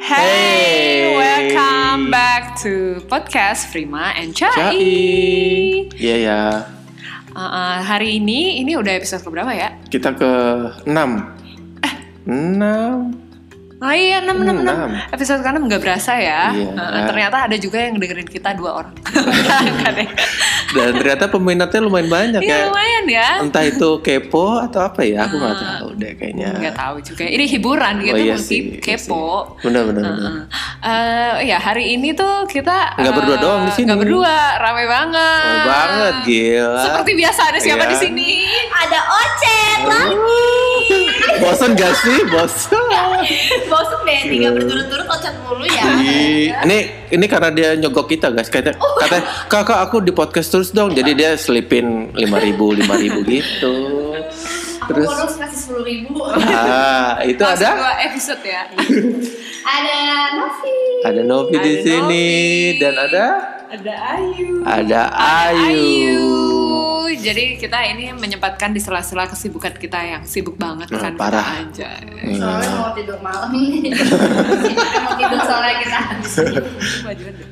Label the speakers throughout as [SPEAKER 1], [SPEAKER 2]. [SPEAKER 1] Hey,
[SPEAKER 2] Hey.
[SPEAKER 1] welcome back to podcast Prima and Chai.
[SPEAKER 2] Cai. Iya ya.
[SPEAKER 1] Uh, uh, hari ini ini udah episode keberapa ya?
[SPEAKER 2] Kita ke 6.
[SPEAKER 1] Eh.
[SPEAKER 2] 6.
[SPEAKER 1] Oh iya 6 6
[SPEAKER 2] Hmm, Enam.
[SPEAKER 1] 6. Episode ke-6 nggak berasa ya.
[SPEAKER 2] Iya.
[SPEAKER 1] Uh, uh, ternyata ada juga yang dengerin kita dua orang. Nggak deh.
[SPEAKER 2] Dan ternyata peminatnya lumayan banyak
[SPEAKER 1] Iya
[SPEAKER 2] ya.
[SPEAKER 1] lumayan ya. Ah.
[SPEAKER 2] Entah itu kepo atau apa ya, aku nggak tahu deh kayaknya.
[SPEAKER 1] Nggak tahu juga. Ini hiburan gitu
[SPEAKER 2] iya
[SPEAKER 1] mesti
[SPEAKER 2] sih, iya
[SPEAKER 1] kepo.
[SPEAKER 2] sih. Benar benar. benar.
[SPEAKER 1] Heeh. Eh, ya hari ini tuh kita
[SPEAKER 2] Nggak
[SPEAKER 1] eh,
[SPEAKER 2] berdua doang di sini.
[SPEAKER 1] Nggak berdua, rame banget.
[SPEAKER 2] Seru banget gila.
[SPEAKER 1] Seperti biasa ada siapa
[SPEAKER 2] Iya.
[SPEAKER 1] di sini?
[SPEAKER 3] Ada Ocet lagi.
[SPEAKER 2] Bosan gak sih? Bosan.
[SPEAKER 3] Bosan deh tiga berturut-turut Ocet mulu ya.
[SPEAKER 2] Iya. Ini ini karena dia nyogok kita guys. Kata
[SPEAKER 1] Oh.
[SPEAKER 2] katanya, kakak aku di podcast terus dong. Jadi dia selipin 5000 5000 gitu.
[SPEAKER 3] Aku
[SPEAKER 2] Terus
[SPEAKER 3] bonus kasih sepuluh ribu.
[SPEAKER 2] ah itu
[SPEAKER 1] Langsung
[SPEAKER 2] ada
[SPEAKER 1] dua episode ya.
[SPEAKER 3] Ada Novi.
[SPEAKER 2] ada Novi di
[SPEAKER 1] Ada
[SPEAKER 2] sini
[SPEAKER 1] Novi.
[SPEAKER 2] dan ada
[SPEAKER 1] ada Ayu.
[SPEAKER 2] ada
[SPEAKER 1] Ayu.
[SPEAKER 2] Ayu.
[SPEAKER 1] Jadi kita ini menyempatkan di sela-sela kesibukan kita yang sibuk banget
[SPEAKER 2] Nah,
[SPEAKER 1] kan kita
[SPEAKER 2] parah.
[SPEAKER 1] aja.
[SPEAKER 2] Iya.
[SPEAKER 3] Soalnya
[SPEAKER 2] Nah.
[SPEAKER 3] mau tidur malam. Kita mau tidur sore kita.
[SPEAKER 1] Lu majuan deh.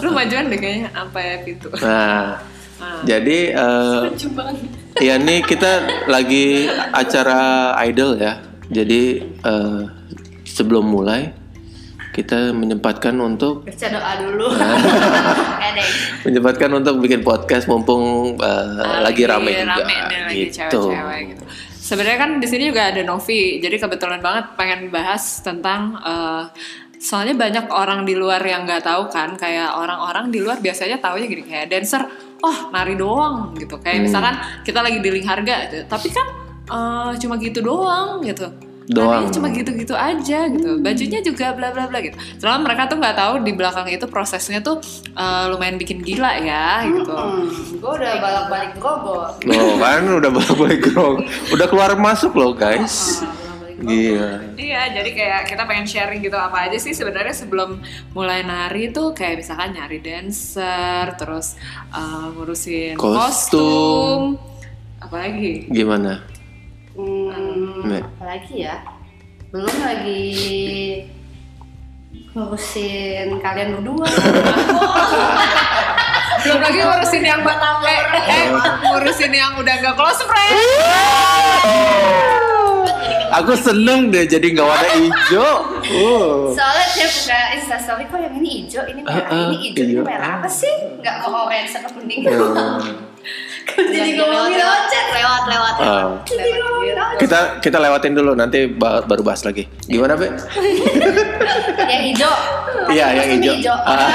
[SPEAKER 1] Lu majuan deh kayaknya apa ya gitu.
[SPEAKER 2] Nah,
[SPEAKER 1] Ah.
[SPEAKER 2] jadi eh,
[SPEAKER 3] Lucu banget.
[SPEAKER 2] ya ini kita lagi acara idol ya. Jadi eh, sebelum mulai kita menyempatkan untuk
[SPEAKER 3] Baca doa dulu. Nggak deh.
[SPEAKER 2] menyempatkan untuk bikin podcast mumpung uh, lagi rame juga
[SPEAKER 1] Ah, nih, Iya, lagi
[SPEAKER 2] gitu.
[SPEAKER 1] cewek-cewek gitu. Sebenarnya kan di sini juga ada Novi, jadi kebetulan banget pengen bahas tentang eh, soalnya banyak orang di luar yang nggak tahu kan, kayak orang-orang di luar biasanya taunya gini kayak dancer, oh nari doang gitu.
[SPEAKER 2] Hmm.
[SPEAKER 1] Kayak misalkan kita lagi dealing harga, gitu. tapi kan eh, cuma gitu doang gitu.
[SPEAKER 2] Doang. Hmm.
[SPEAKER 1] Narinya cuma gitu-gitu aja gitu bajunya juga bla bla bla gitu selama mereka tuh nggak tahu di belakang itu prosesnya tuh eh, lumayan bikin gila ya gitu
[SPEAKER 3] Gue Hmm, udah balak-balik grogol.
[SPEAKER 2] Loh kan udah balik gerong, udah keluar masuk loh guys. Gila.
[SPEAKER 1] Iya, jadi kayak kita pengen sharing gitu apa aja sih sebenarnya sebelum mulai nari tuh kayak misalkan nyari dancer, terus uh, ngurusin
[SPEAKER 2] Kostum.
[SPEAKER 1] kostum, apalagi
[SPEAKER 2] Gimana?
[SPEAKER 3] Hmm,
[SPEAKER 2] Nek.
[SPEAKER 3] apalagi ya? Belum lagi ngurusin kalian berdua.
[SPEAKER 1] belum lagi ngurusin yang ba- eh, eh, ngurusin yang udah gak close friend.
[SPEAKER 2] Aku seneng deh jadi nggak warna hijau. Uh.
[SPEAKER 3] Soalnya dia buka instastory kok yang ini hijau, ini merah,
[SPEAKER 2] Ah, ah,
[SPEAKER 3] ini hijau, ini
[SPEAKER 2] iya. Oh.
[SPEAKER 3] merah apa sih? Nggak kok orange sama kuning. Jadi
[SPEAKER 4] Jadi
[SPEAKER 3] ngomongin
[SPEAKER 4] lewat,
[SPEAKER 3] ocet lewat lewat.
[SPEAKER 2] Ah.
[SPEAKER 3] Jadi ngomongin ocet.
[SPEAKER 2] Kita kita lewatin dulu nanti ba- baru bahas lagi. Gimana Be?
[SPEAKER 3] Yang hijau.
[SPEAKER 2] Iya yang
[SPEAKER 3] Kostumnya
[SPEAKER 2] hijau. Ah,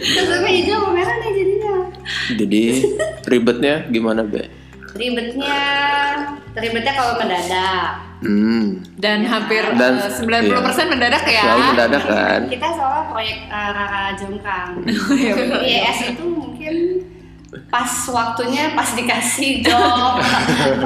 [SPEAKER 3] Kostumnya hijau sama merah nih jadinya.
[SPEAKER 2] jadi ribetnya gimana Be?
[SPEAKER 3] Ribetnya, ribetnya kalau mendadak.
[SPEAKER 2] Hmm.
[SPEAKER 1] Dan hampir
[SPEAKER 2] Dan- iya.
[SPEAKER 1] eh, 90% mendadak ya.
[SPEAKER 2] Selalu mendadak kan?
[SPEAKER 3] Kita soalnya proyek eh, Rara Jongkang.
[SPEAKER 1] Iya, benar.
[SPEAKER 3] IES itu mungkin pas waktunya pas dikasih job,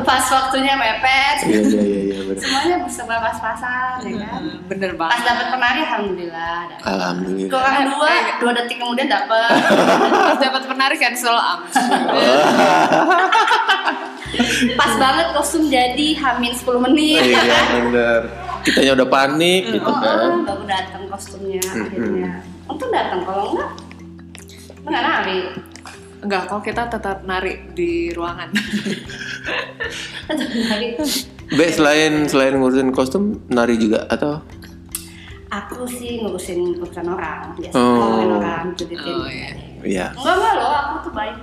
[SPEAKER 3] pas waktunya mepet,
[SPEAKER 2] Iya iya iya iya benar.
[SPEAKER 3] semuanya serba pas-pasan ya kan.
[SPEAKER 1] Eh, Bener
[SPEAKER 3] Pas
[SPEAKER 1] banget.
[SPEAKER 3] dapat penari alhamdulillah. dapet.
[SPEAKER 2] Alhamdulillah.
[SPEAKER 3] Kurang dua, dua detik kemudian dapat.
[SPEAKER 1] Pas dapat penari cancel am.
[SPEAKER 2] Oh.
[SPEAKER 3] Pas banget kostum jadi hamin 10 menit.
[SPEAKER 2] iya bener kitanya udah panik gitu
[SPEAKER 3] Oh,
[SPEAKER 2] kan
[SPEAKER 3] oh, baru datang kostumnya akhirnya. Untung datang kalau enggak lu nggak nari.
[SPEAKER 1] Enggak, kok kita tetap nari di ruangan.
[SPEAKER 3] Tetap nari.
[SPEAKER 2] Be selain selain ngurusin kostum nari juga atau
[SPEAKER 3] Aku sih ngurusin urusan orang, biasa
[SPEAKER 2] Oh.
[SPEAKER 3] ngomongin orang, juditin.
[SPEAKER 1] Oh, iya. Oh,
[SPEAKER 2] ya
[SPEAKER 3] Enggak enggak loh, aku tuh baik.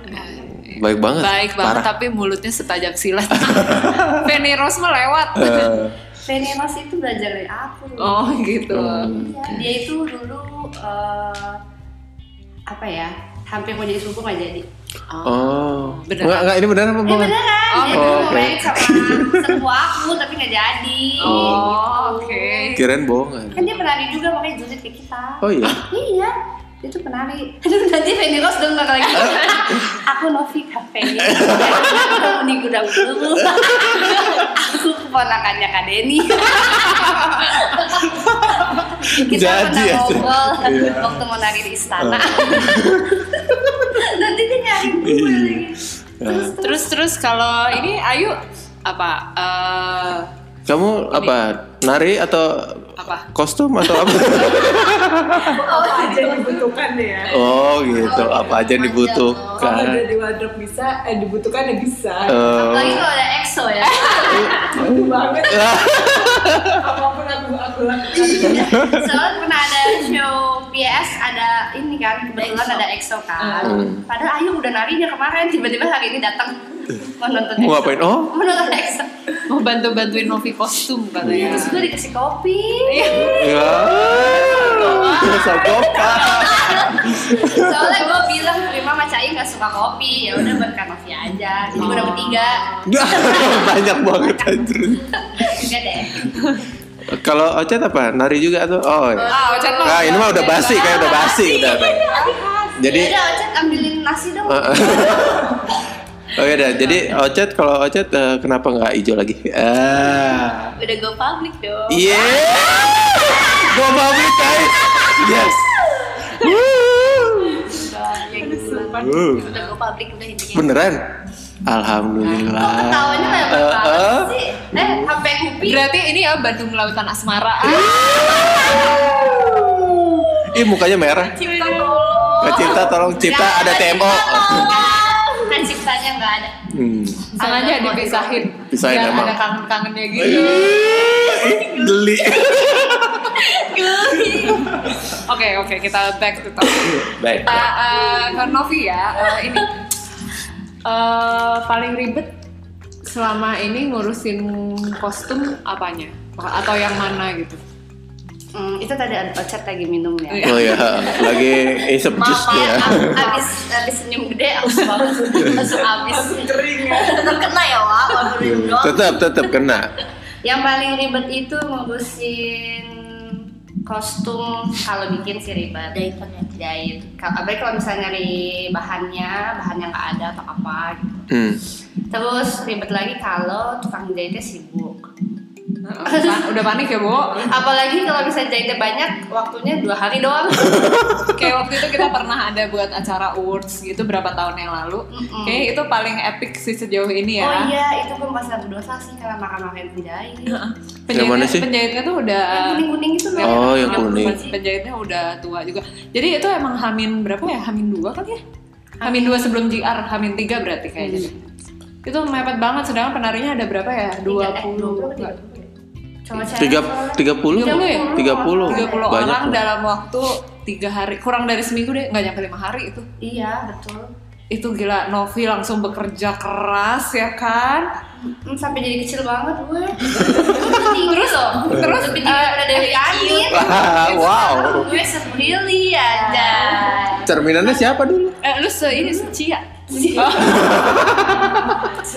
[SPEAKER 2] baik banget
[SPEAKER 1] Baik banget,
[SPEAKER 2] parah
[SPEAKER 1] tapi mulutnya setajam silat. Feni Rose mah lewat.
[SPEAKER 2] Eh,
[SPEAKER 3] Penny Mas itu belajar dari aku.
[SPEAKER 1] Oh gitu.
[SPEAKER 3] Iya, Dia itu dulu eh, apa ya? Hampir mau jadi sepupu nggak jadi.
[SPEAKER 2] oh
[SPEAKER 1] Beneran.
[SPEAKER 2] enggak enggak ini beneran apa
[SPEAKER 3] Ini
[SPEAKER 2] bohong
[SPEAKER 3] beneran,
[SPEAKER 1] Oh,
[SPEAKER 2] oh,
[SPEAKER 3] dia tuh
[SPEAKER 2] oke.
[SPEAKER 3] mau main sama sepupu aku tapi nggak jadi.
[SPEAKER 1] Oh oke.
[SPEAKER 2] kirain bohongan
[SPEAKER 3] Kan dia penari juga makanya julid kayak kita.
[SPEAKER 2] oh iya
[SPEAKER 3] Iya, dia tuh penari. Aduh, nanti Feni Rose denger lagi. aku Novi Cafe. Kamu di gudang dulu. aku keponakannya Kak Denny. Kita
[SPEAKER 2] Jadi ya,
[SPEAKER 3] pernah ngobrol
[SPEAKER 2] iya. Oh.
[SPEAKER 3] waktu mau nari di istana. nanti dia nyari gue
[SPEAKER 2] Iya.
[SPEAKER 3] lagi.
[SPEAKER 2] Nah,
[SPEAKER 1] Terus terus kalau ini Ayu apa? eh,
[SPEAKER 2] Kamu apa? Nari atau
[SPEAKER 1] Apa?
[SPEAKER 2] kostum atau apa?
[SPEAKER 4] apa aja yang Oh, dibutuhkan ya
[SPEAKER 2] oh gitu, apa aja yang
[SPEAKER 4] kalau ada
[SPEAKER 2] dibutuhkan.
[SPEAKER 4] di wardrobe bisa eh dibutuhkan ya bisa
[SPEAKER 2] Eh,
[SPEAKER 3] Apalagi kalau ada EXO ya.
[SPEAKER 4] Butuh banget apapun aku aku lakukan
[SPEAKER 3] Soalnya pernah ada show PS ada ini kan kebetulan ada EXO
[SPEAKER 1] Ah.
[SPEAKER 3] kan.
[SPEAKER 2] Hmm.
[SPEAKER 3] Padahal Ayu udah narinya kemarin tiba-tiba hari ini datang mau nonton
[SPEAKER 2] Mau
[SPEAKER 3] EXO.
[SPEAKER 2] ngapain? Oh.
[SPEAKER 3] Mau nonton EXO. Iya,
[SPEAKER 1] Mau bantu-bantuin Novi kostum katanya. Iya.
[SPEAKER 3] Terus
[SPEAKER 2] Iya.
[SPEAKER 3] gue dikasih kopi.
[SPEAKER 2] ya. Sagopa.
[SPEAKER 3] Soalnya gue bilang terima sama Cai nggak suka kopi, ya udah buat Kanovi aja. Jadi gue dapet tiga,
[SPEAKER 2] Banyak banget anjir.
[SPEAKER 3] tiga deh.
[SPEAKER 2] Kalau Ocet apa? Nari juga atau? Oh. iya.
[SPEAKER 1] Ah, Ocet mah
[SPEAKER 2] Nah, ini mah udah basi
[SPEAKER 3] basi.
[SPEAKER 2] kayak udah basi udah. udah. Jadi Ah,
[SPEAKER 3] Yaudah, Ya Ocet ambilin nasi dong.
[SPEAKER 2] Oke dah, jadi Ocet kalau Ocet eh, kenapa nggak hijau lagi? Ah.
[SPEAKER 3] Udah go public dong.
[SPEAKER 2] Iya. Gua mau beli, guys. Yes. Woo.
[SPEAKER 3] Ya gitu.
[SPEAKER 2] Woo.
[SPEAKER 3] Udah go public udah intinya.
[SPEAKER 2] Beneran? Alhamdulillah.
[SPEAKER 3] Kok ketawanya
[SPEAKER 2] Eh,
[SPEAKER 3] lebar
[SPEAKER 2] eh.
[SPEAKER 3] banget sih? Eh, sampai kuping.
[SPEAKER 1] Berarti ini ya Bandung Lautan Asmara.
[SPEAKER 2] Iya.
[SPEAKER 1] Ah,
[SPEAKER 2] Ih mukanya merah.
[SPEAKER 3] Cipta tolong.
[SPEAKER 2] Ke Cipta tolong Cipta
[SPEAKER 3] Jangan,
[SPEAKER 2] ada TMO.
[SPEAKER 3] tolong. Kan ciptanya nggak ada.
[SPEAKER 2] Hmm.
[SPEAKER 1] sengaja dipisahin.
[SPEAKER 2] Pisahin
[SPEAKER 1] Biar
[SPEAKER 2] emang. Iya.
[SPEAKER 1] ada kangen-kangennya gitu.
[SPEAKER 2] Ih, Geli.
[SPEAKER 1] Oke, oke, kita back to topic.
[SPEAKER 2] Baik.
[SPEAKER 1] Kita eh, ke Novi ya. Eh, ini Eh, paling ribet selama ini ngurusin kostum apanya? Atau yang mana gitu?
[SPEAKER 3] Hmm, itu tadi ada Ocet lagi minum ya.
[SPEAKER 1] Iya.
[SPEAKER 2] Oh ya, lagi isep jus
[SPEAKER 3] Maaf
[SPEAKER 2] tuh
[SPEAKER 3] ya,
[SPEAKER 2] ya.
[SPEAKER 3] ab- abis, abis senyum gede, abis banget, langsung abis
[SPEAKER 4] kering ya
[SPEAKER 3] Tetap kena ya, Wak, walaupun minum doang.
[SPEAKER 2] Iya, Tetap tetap kena.
[SPEAKER 3] Yang paling ribet itu ngurusin kostum kalau bikin sih ribet Jahitannya Jahit Kal- Apalagi kalau misalnya nyari bahannya, bahannya nggak ada atau apa gitu
[SPEAKER 2] Hmm.
[SPEAKER 3] Terus ribet lagi kalau tukang jahitnya sibuk
[SPEAKER 1] Heeh, pan- Eh, Udah panik ya, Bu?
[SPEAKER 3] Apalagi kalau misalnya jahitnya banyak, waktunya dua hari doang
[SPEAKER 1] Kayak waktu itu kita pernah ada buat acara awards gitu berapa tahun yang lalu.
[SPEAKER 3] Mm-mm.
[SPEAKER 1] Kayak itu paling epic sih sejauh ini ya.
[SPEAKER 3] Oh iya, itu gue pas berdosa sih karena makan-makan penjahit
[SPEAKER 2] Yang mana sih?
[SPEAKER 1] penjahitnya tuh udah
[SPEAKER 3] Yang kuning-kuning itu loh
[SPEAKER 2] Oh, yang kuning.
[SPEAKER 1] Penjahitnya udah tua juga. Jadi itu emang Hamin berapa ya? Hamin dua kali ya? Hamin dua sebelum GR, Hamin tiga berarti kayaknya.
[SPEAKER 2] Hmm.
[SPEAKER 1] Itu mepet banget sedangkan penarinya ada berapa ya? 20. enggak.
[SPEAKER 3] Coba cewek
[SPEAKER 2] Tiga
[SPEAKER 3] soalnya.
[SPEAKER 2] tiga puluh,
[SPEAKER 1] Tiga puluh ya?
[SPEAKER 2] tiga puluh,
[SPEAKER 1] 30
[SPEAKER 2] banyak.
[SPEAKER 1] orang
[SPEAKER 2] loh.
[SPEAKER 1] dalam waktu tiga hari kurang dari seminggu deh nggak nyampe lima hari itu
[SPEAKER 3] Iya, betul
[SPEAKER 1] itu gila Novi langsung bekerja keras ya kan
[SPEAKER 3] Hmm, sampai jadi kecil banget gue. terus loh, terus Eh, lebih tinggi daripada Dewi Amin.
[SPEAKER 2] Wah, wow.
[SPEAKER 3] Gue sebeli aja.
[SPEAKER 2] Cerminannya siapa dulu?
[SPEAKER 1] eh, lu se ini se Cia Oh.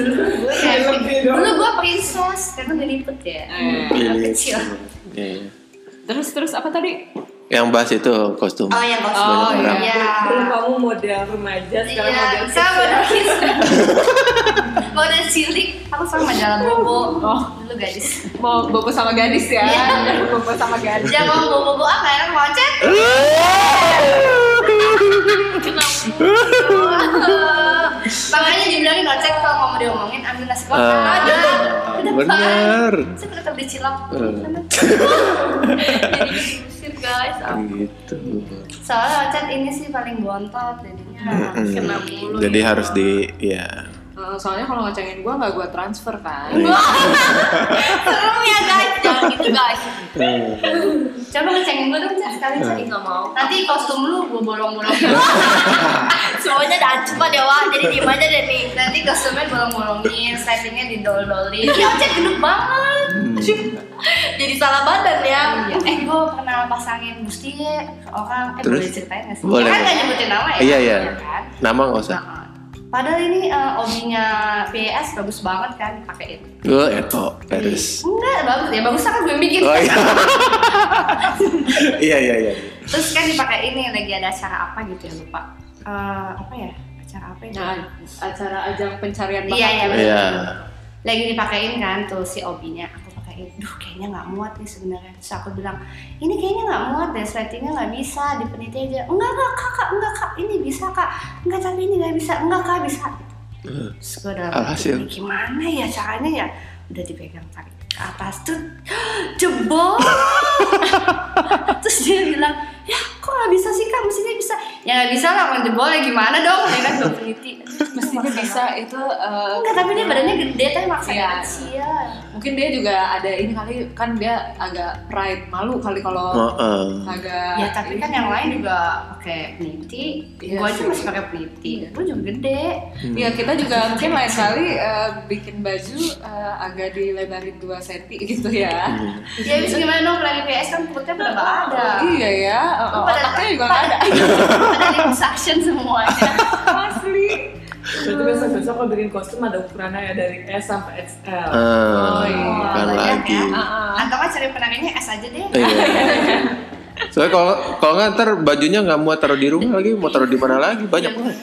[SPEAKER 3] Gue kayak dulu gue princess, karena udah liput ya.
[SPEAKER 1] Eh.
[SPEAKER 2] Pilih.
[SPEAKER 3] Kecil.
[SPEAKER 2] Iya.
[SPEAKER 1] terus terus apa tadi
[SPEAKER 2] Yang bahas itu kostum.
[SPEAKER 3] Oh yang kostum.
[SPEAKER 1] Oh,
[SPEAKER 2] iya, orang.
[SPEAKER 3] iya.
[SPEAKER 4] dulu kamu model remaja sekarang
[SPEAKER 3] Iya,
[SPEAKER 4] model
[SPEAKER 3] sama
[SPEAKER 4] sosial.
[SPEAKER 3] model kis. Model cilik, aku sama majalah bobo.
[SPEAKER 1] Oh.
[SPEAKER 3] Dulu gadis.
[SPEAKER 1] mau bobo sama gadis ya
[SPEAKER 3] Iya.
[SPEAKER 1] bobo sama gadis
[SPEAKER 3] Jangan mau bobo-bobo apa ya, mau cek. Makanya dibilangin ojek kalau nggak mau diomongin ambil nasi kotak.
[SPEAKER 2] Ah,
[SPEAKER 3] Ada. Udah
[SPEAKER 2] bener.
[SPEAKER 3] Pak. Saya pernah beli cilok.
[SPEAKER 2] Eh.
[SPEAKER 3] Jadi diusir guys.
[SPEAKER 2] Gitu.
[SPEAKER 3] Soalnya ojek ini sih paling bontot jadinya.
[SPEAKER 2] Mm-mm.
[SPEAKER 3] Kena bulu.
[SPEAKER 2] Hmm. Jadi harus di ya.
[SPEAKER 1] Eh, soalnya kalau ngecengin gue nggak gue transfer kan
[SPEAKER 3] Iya. Serem ya guys, jangan gitu guys. Coba ngecengin gue dong, Cak, sekali Cak. Ih, nggak mau. Nanti kostum lu gue bolong-bolong. Semuanya ada cuma dewa, jadi diem aja deh nih. Nanti kostumnya bolong-bolongin, settingnya didol-dolin. Iya, Cak, gendut banget. jadi salah badan ya. Eh, gue pernah pasangin busti ke orang. Eh,
[SPEAKER 2] Terus?
[SPEAKER 3] boleh ceritain nggak sih?
[SPEAKER 2] Boleh,
[SPEAKER 3] Kan nggak
[SPEAKER 2] boleh.
[SPEAKER 3] nyebutin nama ya?
[SPEAKER 2] Iya iya.
[SPEAKER 3] kan?
[SPEAKER 2] Nama nggak usah.
[SPEAKER 3] Nah, Padahal ini eh, obinya PS bagus banget kan dipakein.
[SPEAKER 2] Gue Eto Paris.
[SPEAKER 3] Enggak, bagus ya. Bagus kan gue mikir.
[SPEAKER 2] Oh iya. Iya iya iya.
[SPEAKER 3] Terus kan dipakai ini lagi ada acara apa gitu ya lupa. Eh, apa ya? Acara apa ya?
[SPEAKER 1] nah acara ajang pencarian bakat
[SPEAKER 3] Iya, iya, betul.
[SPEAKER 2] Iya.
[SPEAKER 3] Lagi dipakein kan tuh si obinya. Aku pakein. Duh, kayaknya nggak muat nih sebenarnya. Terus aku bilang, ini kayaknya nggak muat deh. Settingnya nggak bisa. Dipeniti aja. Enggak, enggak kak, kak, enggak kak. Ini bisa kak. Enggak tapi ini nggak bisa. Enggak kak bisa. Terus gue dalam hati,
[SPEAKER 2] Eh, Alhasil.
[SPEAKER 3] gimana ya caranya ya? udah dipegang pakai atas tuh jebol terus dia bilang ya kok nggak bisa sih kak mesinnya bisa ya nggak bisa lah mau jebolnya gimana dong ya kan gue peneliti
[SPEAKER 1] Mestinya bisa itu eh,
[SPEAKER 3] enggak tapi dia badannya gede tapi maksa
[SPEAKER 1] Iya.
[SPEAKER 3] kecil
[SPEAKER 1] mungkin dia juga ada ini kali kan dia agak pride malu kali kalau
[SPEAKER 2] Oh, eh.
[SPEAKER 1] agak
[SPEAKER 3] ya tapi kan yang lain juga pakai peniti
[SPEAKER 1] Iya
[SPEAKER 3] gue aja
[SPEAKER 1] sih.
[SPEAKER 3] masih pakai peniti
[SPEAKER 1] Iya.
[SPEAKER 3] gue juga gede
[SPEAKER 1] Ya kita juga mungkin lain kali eh, bikin baju eh, agak dilebarin 2 cm gitu ya.
[SPEAKER 3] ya abis gimana dong lagi PS kan perutnya udah nggak ada
[SPEAKER 1] Iya ya, eh, eh, otaknya juga nggak
[SPEAKER 3] iya,
[SPEAKER 1] ada.
[SPEAKER 3] pada transaction semuanya
[SPEAKER 1] Asli.
[SPEAKER 4] Berarti besok besok kalau bikin kostum ada ukurannya ya dari S sampai
[SPEAKER 2] Eh,
[SPEAKER 4] XL.
[SPEAKER 1] Oh, iya.
[SPEAKER 2] bukan
[SPEAKER 3] Banyak
[SPEAKER 2] lagi.
[SPEAKER 3] ya.
[SPEAKER 1] Heeh.
[SPEAKER 3] atau kan cari penarinya S aja deh
[SPEAKER 2] Iya. Soalnya kalau kalau nggak ntar bajunya nggak muat taruh di rumah lagi, mau taruh di mana lagi banyak banget.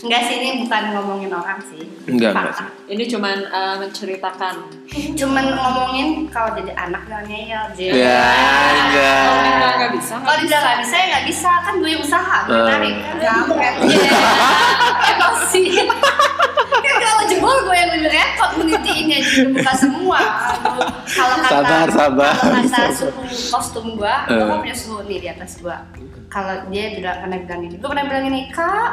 [SPEAKER 3] Enggak sih, ini bukan ngomongin orang sih
[SPEAKER 2] Enggak, enggak
[SPEAKER 3] Fakta.
[SPEAKER 2] sih.
[SPEAKER 1] Ini cuman eh, menceritakan.
[SPEAKER 3] Cuman ngomongin kalau jadi anak jangan ngeyel Jay.
[SPEAKER 2] Ya, enggak.
[SPEAKER 1] Kalau kita nggak bisa.
[SPEAKER 3] Kalau
[SPEAKER 1] nggak
[SPEAKER 3] dia nggak bisa ya nggak bisa, kan gue yang usaha, gue
[SPEAKER 2] Eh.
[SPEAKER 3] tarik kan kampret Emosi Kan kalau jebol gue yang lebih repot menitiinnya, jadi buka semua Aduh, Kalau kata
[SPEAKER 2] Sabar, sabar.
[SPEAKER 3] Kalau kata suhu kostum gue, gue kan
[SPEAKER 2] Eh.
[SPEAKER 3] punya suhu nih di atas gue Kalau dia bilang, pernah bilang ini, gue pernah bilang ini, Kak,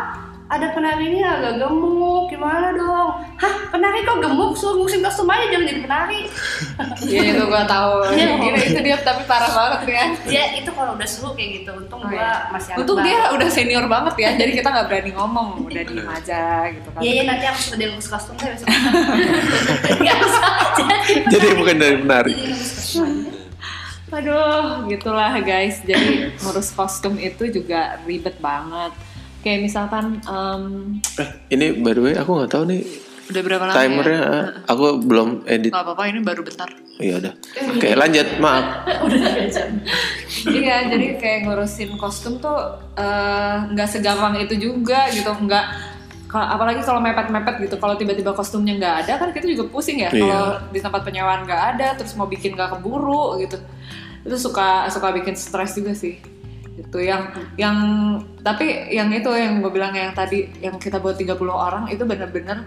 [SPEAKER 3] ada penari ini agak gemuk, gimana dong? Hah, penari kok gemuk? Suruh ngurusin kostum aja, jangan jadi penari
[SPEAKER 1] bisa. Iya itu gua tahu.
[SPEAKER 3] Iya.
[SPEAKER 1] Gini itu dia tapi parah banget ya.
[SPEAKER 3] dia itu kalau udah suhu kayak gitu untung
[SPEAKER 1] Oh,
[SPEAKER 3] gua
[SPEAKER 1] iya.
[SPEAKER 3] masih anak
[SPEAKER 1] Untung
[SPEAKER 3] banget.
[SPEAKER 1] dia udah senior banget ya, jadi kita nggak berani ngomong, udah diem aja gitu kan.
[SPEAKER 3] Iya, iya nanti aku sudah lulus kostum deh besok. Gak bisa jadi.
[SPEAKER 2] Jadi bukan dari
[SPEAKER 3] Jadi
[SPEAKER 2] menarik.
[SPEAKER 3] lulus kostum.
[SPEAKER 1] Aduh, gitulah guys. Jadi ngurus kostum itu juga ribet banget. Kayak misalkan em,
[SPEAKER 2] Eh, ini by the way aku nggak tahu nih
[SPEAKER 1] udah berapa lama?
[SPEAKER 2] timernya.
[SPEAKER 1] Ya?
[SPEAKER 2] eh, Aku belum edit.
[SPEAKER 1] Gak apa-apa, ini baru bentar.
[SPEAKER 2] Iya udah. Oke lanjut. Maaf.
[SPEAKER 1] iya, jadi kayak ngurusin kostum tuh eh, nggak segampang itu juga gitu, nggak. ka- Apalagi kalau mepet-mepet gitu, kalau tiba-tiba kostumnya nggak ada kan kita juga pusing ya.
[SPEAKER 2] Iya.
[SPEAKER 1] Kalau di tempat penyewaan nggak ada, terus mau bikin nggak keburu gitu, itu suka suka bikin stres juga sih. Itu yang yang tapi yang itu yang gue bilang yang tadi yang kita buat 30 orang itu bener-bener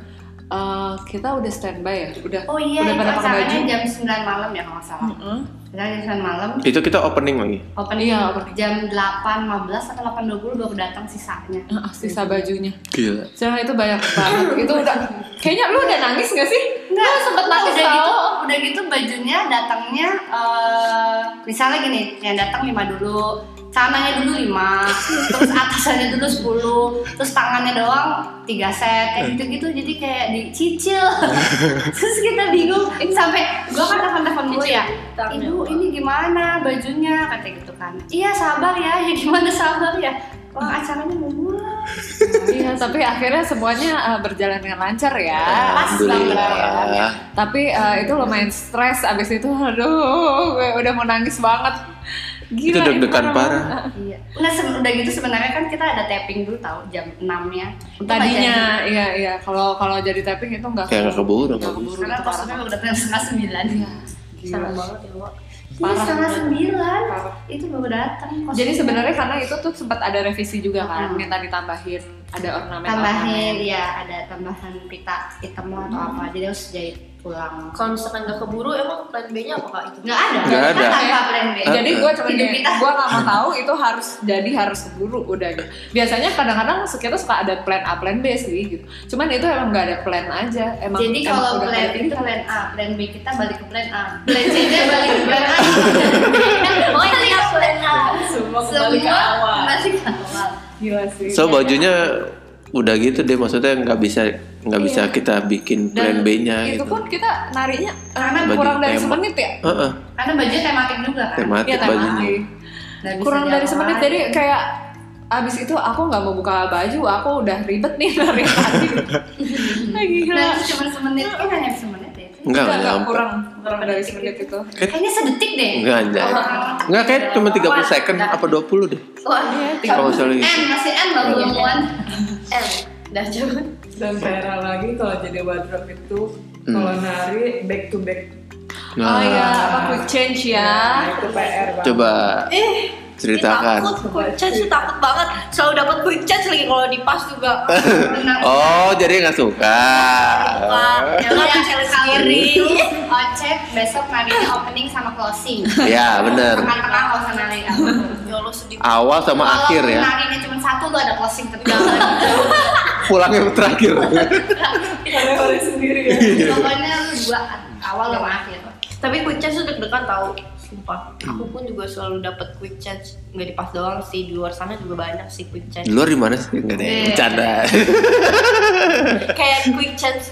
[SPEAKER 1] eh, kita udah standby ya, udah
[SPEAKER 3] Oh iya,
[SPEAKER 1] udah
[SPEAKER 3] itu
[SPEAKER 1] pada pakai baju. Iya.
[SPEAKER 3] acaranya jam 9 malam ya kalau nggak salah.
[SPEAKER 1] Mm-mm.
[SPEAKER 3] Kita jam 9 malam.
[SPEAKER 2] Itu kita opening lagi.
[SPEAKER 3] Opening
[SPEAKER 1] Iya, opening.
[SPEAKER 3] jam 8.15 atau 8.20 baru datang sisanya.
[SPEAKER 1] Heeh, sisa bajunya.
[SPEAKER 2] Gila.
[SPEAKER 1] Jangan itu banyak banget. itu udah kayaknya lu udah nangis gak sih? Lu sempet nangis
[SPEAKER 3] udah gitu,
[SPEAKER 1] tau.
[SPEAKER 3] udah gitu bajunya datangnya eh, misalnya gini, yang datang 5 dulu, celananya dulu 5, terus atasannya dulu 10, terus tangannya doang 3 set, kayak gitu-gitu jadi kayak dicicil. terus kita bingung ini sampai gua kan telepon-telepon dulu ya. Ibu, ini gimana bajunya? Kata gitu kan. Iya, sabar ya. Ya gimana sabar ya? Wah, acaranya mau mulai.
[SPEAKER 1] Iya, tapi akhirnya semuanya eh, berjalan dengan lancar ya.
[SPEAKER 2] Alhamdulillah.
[SPEAKER 1] ya. Tapi eh, itu lumayan stres abis itu aduh gue udah mau nangis banget. Gila,
[SPEAKER 2] Itu
[SPEAKER 1] ini
[SPEAKER 2] deg-degan parah.
[SPEAKER 3] Iya. Nah, se- udah gitu sebenarnya kan kita ada tapping dulu tahu jam 6-nya. Itu nggak jadi.
[SPEAKER 1] Tadinya iya iya kalau kalau jadi tapping itu nggak
[SPEAKER 2] Kayak nggak keburu.
[SPEAKER 1] Nggak keburu
[SPEAKER 3] karena
[SPEAKER 1] itu parah
[SPEAKER 3] kostumnya udah datang setengah sembilan.
[SPEAKER 1] Iya.
[SPEAKER 4] Sama banget ya, Wak.
[SPEAKER 3] Iya,
[SPEAKER 1] Parah.
[SPEAKER 3] setengah sembilan.
[SPEAKER 1] Parah.
[SPEAKER 3] Itu baru datang. kostumnya.
[SPEAKER 1] Jadi sebenarnya karena itu tuh sempat ada revisi juga kan,
[SPEAKER 3] Hmm.
[SPEAKER 1] minta ditambahin ada ornamen.
[SPEAKER 3] tambahin
[SPEAKER 1] iya.
[SPEAKER 3] ya ada tambahan pita hitam lah
[SPEAKER 1] Hmm.
[SPEAKER 3] atau apa. Jadi harus jahit ulang.
[SPEAKER 5] Kalau misalkan nggak keburu, emang plan B-nya apa kak itu?
[SPEAKER 3] Nggak ada.
[SPEAKER 2] Nggak
[SPEAKER 3] Kita
[SPEAKER 2] ada.
[SPEAKER 3] tanpa plan B.
[SPEAKER 2] Eh,
[SPEAKER 1] Jadi gue cuma
[SPEAKER 3] Hidup
[SPEAKER 1] gini,
[SPEAKER 3] kita.
[SPEAKER 1] gue gak mau tahu itu harus jadi harus keburu udah gitu. Biasanya kadang-kadang kita suka ada plan A, plan B sih gitu. Cuman itu emang gak ada plan aja. Emang
[SPEAKER 3] Jadi
[SPEAKER 1] emang
[SPEAKER 3] kalau
[SPEAKER 1] udah
[SPEAKER 3] plan
[SPEAKER 1] kayak
[SPEAKER 3] itu
[SPEAKER 1] gitu.
[SPEAKER 3] plan A, plan B kita balik ke plan A, plan C nya balik ke plan A. Oh iya plan A.
[SPEAKER 4] Semua kembali ke
[SPEAKER 3] Semua
[SPEAKER 4] awal.
[SPEAKER 3] masih ke awal.
[SPEAKER 1] gila sih.
[SPEAKER 2] So bajunya udah gitu deh maksudnya nggak bisa nggak bisa kita bikin plan
[SPEAKER 1] Dan
[SPEAKER 2] B-nya
[SPEAKER 1] itu
[SPEAKER 2] gitu.
[SPEAKER 1] pun kita narinya karena
[SPEAKER 2] Baju
[SPEAKER 1] kurang dari
[SPEAKER 2] tema.
[SPEAKER 1] semenit ya.
[SPEAKER 2] Heeh,
[SPEAKER 3] Karena bajunya tematik juga kan.
[SPEAKER 1] Iya
[SPEAKER 2] tematik bajunya.
[SPEAKER 1] tadi.
[SPEAKER 3] Nggak bisa
[SPEAKER 1] Kurang dari
[SPEAKER 3] jalan.
[SPEAKER 1] semenit jadi kayak abis itu aku nggak mau buka baju, aku udah ribet nih dari tadi. Ah,
[SPEAKER 5] Iya.
[SPEAKER 1] Gila.
[SPEAKER 3] Nah, itu cuma semenit, kan hanya semenit ya.
[SPEAKER 2] Enggak, enggak
[SPEAKER 1] Enggak,
[SPEAKER 2] nyampe.
[SPEAKER 1] kurang kurang dari semenit itu.
[SPEAKER 3] Kayaknya sedetik deh.
[SPEAKER 2] Enggak anjay. Enggak kayak cuma 30 second apa 20 deh.
[SPEAKER 3] Wah,
[SPEAKER 5] Iya,
[SPEAKER 2] Kalau nggak salah gitu.
[SPEAKER 3] M masih M loh belum one.
[SPEAKER 5] M. Dah coba.
[SPEAKER 4] Dan Vera lagi kalau jadi wardrobe itu kalau nari back to back.
[SPEAKER 2] Nah,
[SPEAKER 1] Oh iya, apa quick change ya?
[SPEAKER 4] Nah, itu PR banget.
[SPEAKER 2] coba
[SPEAKER 5] Eh,
[SPEAKER 2] ceritakan.
[SPEAKER 5] Takut, quick change tuh takut banget. Selalu dapat quick change lagi kalau di pas juga.
[SPEAKER 3] Benar.
[SPEAKER 2] Oh, jadi nggak suka.
[SPEAKER 5] Wah, jangan cari sendiri.
[SPEAKER 3] Ocep besok narinya opening sama closing.
[SPEAKER 2] ya bener
[SPEAKER 3] Tengah-tengah nggak usah nari.
[SPEAKER 5] Ya Allah sedih.
[SPEAKER 2] awal sama
[SPEAKER 3] Walaupun
[SPEAKER 2] akhir ya
[SPEAKER 3] narinya cuma satu tuh ada closing tetap.
[SPEAKER 2] pulangnya terakhir
[SPEAKER 4] Oleh-oleh sendiri ya.
[SPEAKER 3] Pokoknya lu dua awal sama akhir.
[SPEAKER 5] Tapi quick change tuh deg-degan tau. Sumpah.
[SPEAKER 2] Hmm.
[SPEAKER 5] Aku pun juga selalu dapat quick change. Nggak di pas doang sih. Di luar sana juga banyak sih quick change.
[SPEAKER 2] di luar di mana sih nggak ada yang
[SPEAKER 3] Iya.
[SPEAKER 2] bercanda
[SPEAKER 5] Kayak quick change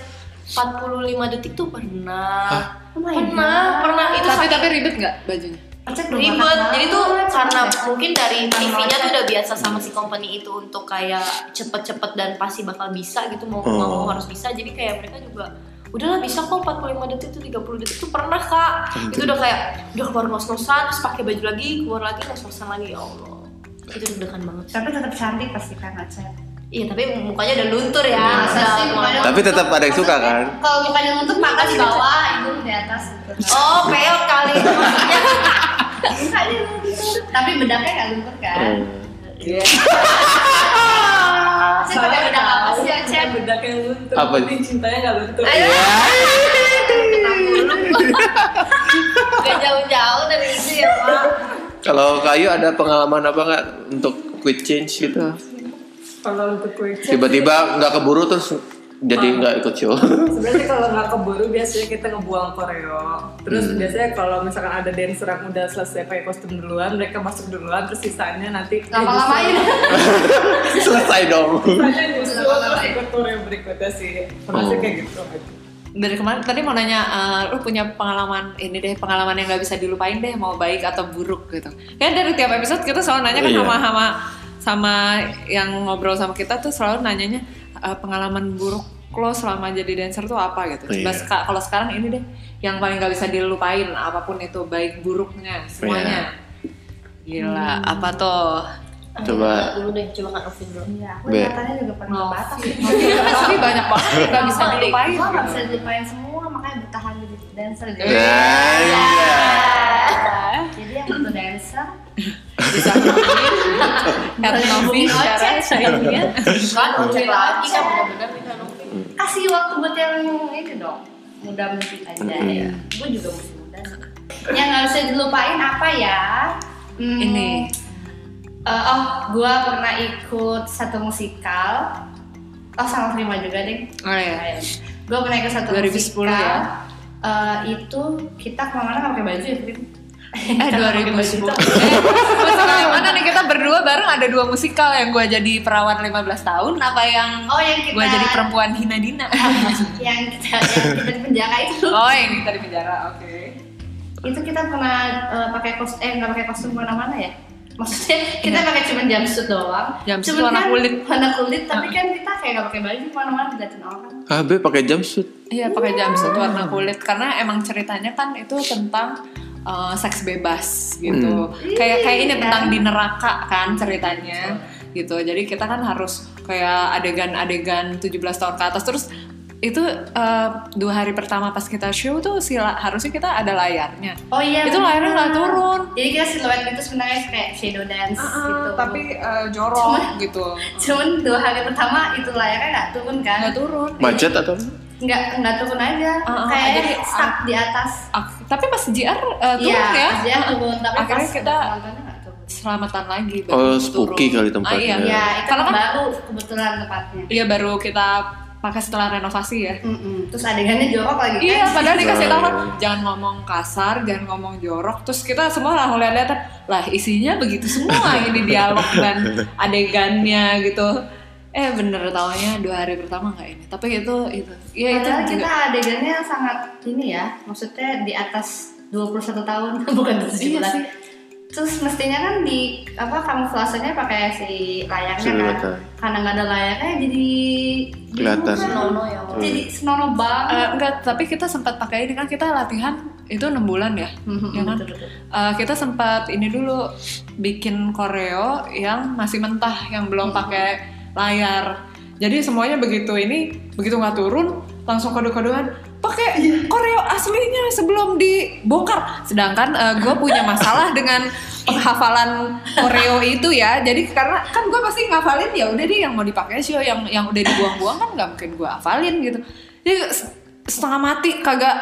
[SPEAKER 5] 45 detik tuh
[SPEAKER 2] Hah?
[SPEAKER 5] pernah. Pernah, pernah. Itu
[SPEAKER 1] tapi
[SPEAKER 5] sakit
[SPEAKER 1] tapi ribet nggak bajunya?
[SPEAKER 3] Ocep belum
[SPEAKER 5] ribet
[SPEAKER 3] makan.
[SPEAKER 5] jadi tuh karena
[SPEAKER 3] Ocep.
[SPEAKER 5] mungkin dari TV-nya tuh udah biasa sama si company itu untuk kayak cepet-cepet dan pasti bakal bisa gitu mau nggak mau
[SPEAKER 2] Oh.
[SPEAKER 5] harus bisa jadi kayak mereka juga udahlah bisa kok 45 detik tuh 30 detik tuh pernah kak itu udah kayak udah keluar ngos-ngosan terus pakai baju lagi keluar lagi ngos-ngosan lagi ya Allah itu deg-degan banget sih.
[SPEAKER 3] tapi tetap cantik pasti kan Ocep.
[SPEAKER 5] iya tapi mukanya udah luntur ya
[SPEAKER 3] Masa
[SPEAKER 5] udah
[SPEAKER 3] sih Iya. mukanya
[SPEAKER 2] Tapi
[SPEAKER 3] luntur?
[SPEAKER 2] tetap ada yang suka, kan?
[SPEAKER 3] Nah, Kalau mukanya untuk makan di bawah, itu di atas. gitu.
[SPEAKER 5] oh peok kali maksudnya
[SPEAKER 3] Bisa dia gitu. Tapi bedaknya nggak luntur kan?
[SPEAKER 4] Iya.
[SPEAKER 2] Oh.
[SPEAKER 3] Ocep pada bedak apa sih Ocep?
[SPEAKER 4] Bedak yang luntur.
[SPEAKER 2] Apa?
[SPEAKER 4] Penting cintanya nggak luntur.
[SPEAKER 5] gak jauh-jauh dari itu ya Mak.
[SPEAKER 2] kalau kayu ada pengalaman apa nggak untuk quick change gitu
[SPEAKER 4] Kalau untuk quick change,
[SPEAKER 2] tiba-tiba nggak keburu terus jadi nggak ikut show
[SPEAKER 4] sebenarnya kalau nggak keburu biasanya kita ngebuang koreo terus biasanya kalau misalkan ada dancer yang udah selesai pakai kostum duluan mereka masuk duluan terus sisanya nanti
[SPEAKER 3] Ah.
[SPEAKER 4] eh,
[SPEAKER 3] Lama-lamain.
[SPEAKER 2] selesai dong
[SPEAKER 4] justru- sisanya justru terus ikut koreo berikutnya sih pernah sih
[SPEAKER 2] Oh.
[SPEAKER 4] kayak gitu
[SPEAKER 1] Dari kemarin tadi mau nanya, eh, lu punya pengalaman ini deh, pengalaman yang nggak bisa dilupain deh, mau baik atau buruk gitu. Kayak dari tiap episode kita selalu nanya kan
[SPEAKER 2] Iya.
[SPEAKER 1] sama sama sama yang ngobrol sama kita tuh selalu nanyanya eh, pengalaman buruk lo selama jadi dancer tuh apa gitu. Coba
[SPEAKER 2] Iya.
[SPEAKER 1] seka- kalau sekarang ini deh, yang paling nggak bisa dilupain apapun itu baik buruknya semuanya.
[SPEAKER 2] Iya.
[SPEAKER 1] Gila, apa tuh?
[SPEAKER 2] Coba.
[SPEAKER 5] dulu deh coba kak Novin dulu
[SPEAKER 3] Iya, aku
[SPEAKER 2] Be.
[SPEAKER 3] katanya juga pernah
[SPEAKER 1] Oh.
[SPEAKER 3] batas.
[SPEAKER 1] Tapi banyak banget yang nggak bisa dilupain.
[SPEAKER 3] Gua nggak bisa dilupain semua, makanya bertahan jadi dancer. gitu.
[SPEAKER 2] Nah, iya.
[SPEAKER 3] Jadi yang itu dancer,
[SPEAKER 1] bisa hubungin at Novi secara sharingnya
[SPEAKER 5] kan
[SPEAKER 3] Ocek lagi kan,
[SPEAKER 5] benar-benar minta
[SPEAKER 3] kasih waktu buat yang ini dong. Muda mesti aja ya. Gue juga mesti muda. sih. Yang nggak bisa dilupain apa ya? Hmm,
[SPEAKER 1] ini
[SPEAKER 3] eh, oh, gue pernah ikut satu musikal. Oh, sama terima juga deh.
[SPEAKER 1] oh ya
[SPEAKER 3] Gue pernah ikut satu
[SPEAKER 1] 2010
[SPEAKER 3] musikal.
[SPEAKER 1] ya?
[SPEAKER 3] Eh, itu kita kemana-mana nggak pakai baju ya, Prim? kan
[SPEAKER 1] eh 2010 Eh, masalah yang mana nih kita berdua bareng ada dua musikal yang gue jadi perawan 15 tahun apa yang
[SPEAKER 3] Oh, yang kita
[SPEAKER 1] gue jadi perempuan Hina Dina
[SPEAKER 3] yang kita yang kita di penjara itu.
[SPEAKER 1] oh yang kita di penjara oke
[SPEAKER 3] Itu kita pernah eh, pakai kos eh nggak pakai kostum kemana-mana ya? Maksudnya kita pakai cuma jumpsuit doang.
[SPEAKER 1] Iya. Jumpsuit
[SPEAKER 3] Cuman
[SPEAKER 1] warna
[SPEAKER 3] kan
[SPEAKER 1] kulit.
[SPEAKER 3] Warna kulit, tapi kan kita kayak nggak pakai baju kemana-mana diliatin orang.
[SPEAKER 2] ah Be, pakai jumpsuit
[SPEAKER 1] Iya pakai jumpsuit warna
[SPEAKER 2] Hmm.
[SPEAKER 1] kulit karena emang ceritanya kan itu tentang uh, seks bebas gitu.
[SPEAKER 2] Hmm.
[SPEAKER 1] Kayak kayak ini
[SPEAKER 3] Iya.
[SPEAKER 1] tentang di neraka kan ceritanya gitu. Jadi kita kan harus kayak adegan-adegan 17 tahun ke atas terus itu uh, dua hari pertama pas kita show tuh sila harusnya kita ada layarnya.
[SPEAKER 3] Oh iya.
[SPEAKER 1] Itu
[SPEAKER 3] benar.
[SPEAKER 1] layarnya nggak turun.
[SPEAKER 3] Jadi kita siluet gitu sebenarnya kayak shadow dance gitu.
[SPEAKER 1] uh, jorok gitu.
[SPEAKER 3] cuman dua hari pertama itu layarnya nggak turun kan?
[SPEAKER 1] Nggak turun.
[SPEAKER 2] macet atau
[SPEAKER 3] Nggak nggak turun aja.
[SPEAKER 1] Uh-uh,
[SPEAKER 3] kayak
[SPEAKER 1] jadi,
[SPEAKER 3] stuck di atas.
[SPEAKER 1] Ah, tapi pas JR uh, turun ya.
[SPEAKER 3] Dia turun tapi
[SPEAKER 1] Akhirnya
[SPEAKER 3] pas
[SPEAKER 1] kita-
[SPEAKER 3] penontonnya nggak turun.
[SPEAKER 1] Selamatan lagi.
[SPEAKER 2] Oh,
[SPEAKER 1] baru
[SPEAKER 2] spooky
[SPEAKER 1] turun.
[SPEAKER 2] kali
[SPEAKER 1] Ah,
[SPEAKER 2] tempatnya. ya.
[SPEAKER 3] Iya,
[SPEAKER 1] iya.
[SPEAKER 3] itu
[SPEAKER 1] Karena kan
[SPEAKER 3] baru kebetulan tempatnya.
[SPEAKER 1] Iya baru kita pakai setelah renovasi ya.
[SPEAKER 3] Mm-mm. Terus adegannya jorok lagi kan?
[SPEAKER 1] Iya, padahal dikasih tahu kan
[SPEAKER 2] Nah,
[SPEAKER 1] jangan ngomong kasar, jangan ngomong jorok. Terus kita semua lah lihat lah isinya begitu semua ini dialog dan adegannya gitu. Eh bener taunya dua hari pertama nggak ini. Tapi itu itu. Iya itu
[SPEAKER 3] Padahal kita
[SPEAKER 1] juga.
[SPEAKER 3] adegannya sangat ini ya, maksudnya di atas 21 tahun, bukan 17.
[SPEAKER 1] Iya sih.
[SPEAKER 3] Terus mestinya kan di apa kamuflasenya pakai si layarnya kan.
[SPEAKER 2] Siluetan.
[SPEAKER 3] Karena nggak ada layarnya jadi bingung
[SPEAKER 2] Kelihatan.
[SPEAKER 3] kan.
[SPEAKER 5] Senono ya, Wak.
[SPEAKER 3] Jadi senono banget.
[SPEAKER 1] Eh, enggak, tapi kita sempat pakai ini kan kita latihan itu enam bulan ya,
[SPEAKER 3] Mhm,
[SPEAKER 1] ya kan?
[SPEAKER 3] betul-betul.
[SPEAKER 1] Eh, kita sempat ini dulu bikin koreo yang masih mentah, yang belum pakai layar. Jadi semuanya begitu ini, begitu nggak turun, langsung kode-kodean pakai koreo aslinya sebelum dibongkar. Sedangkan gue punya masalah dengan penghafalan koreo itu ya. Jadi karena kan gue pasti ngafalin ya udah deh yang mau dipakai sih, yang yang udah dibuang-buang kan nggak mungkin gue hafalin gitu. Jadi setengah mati kagak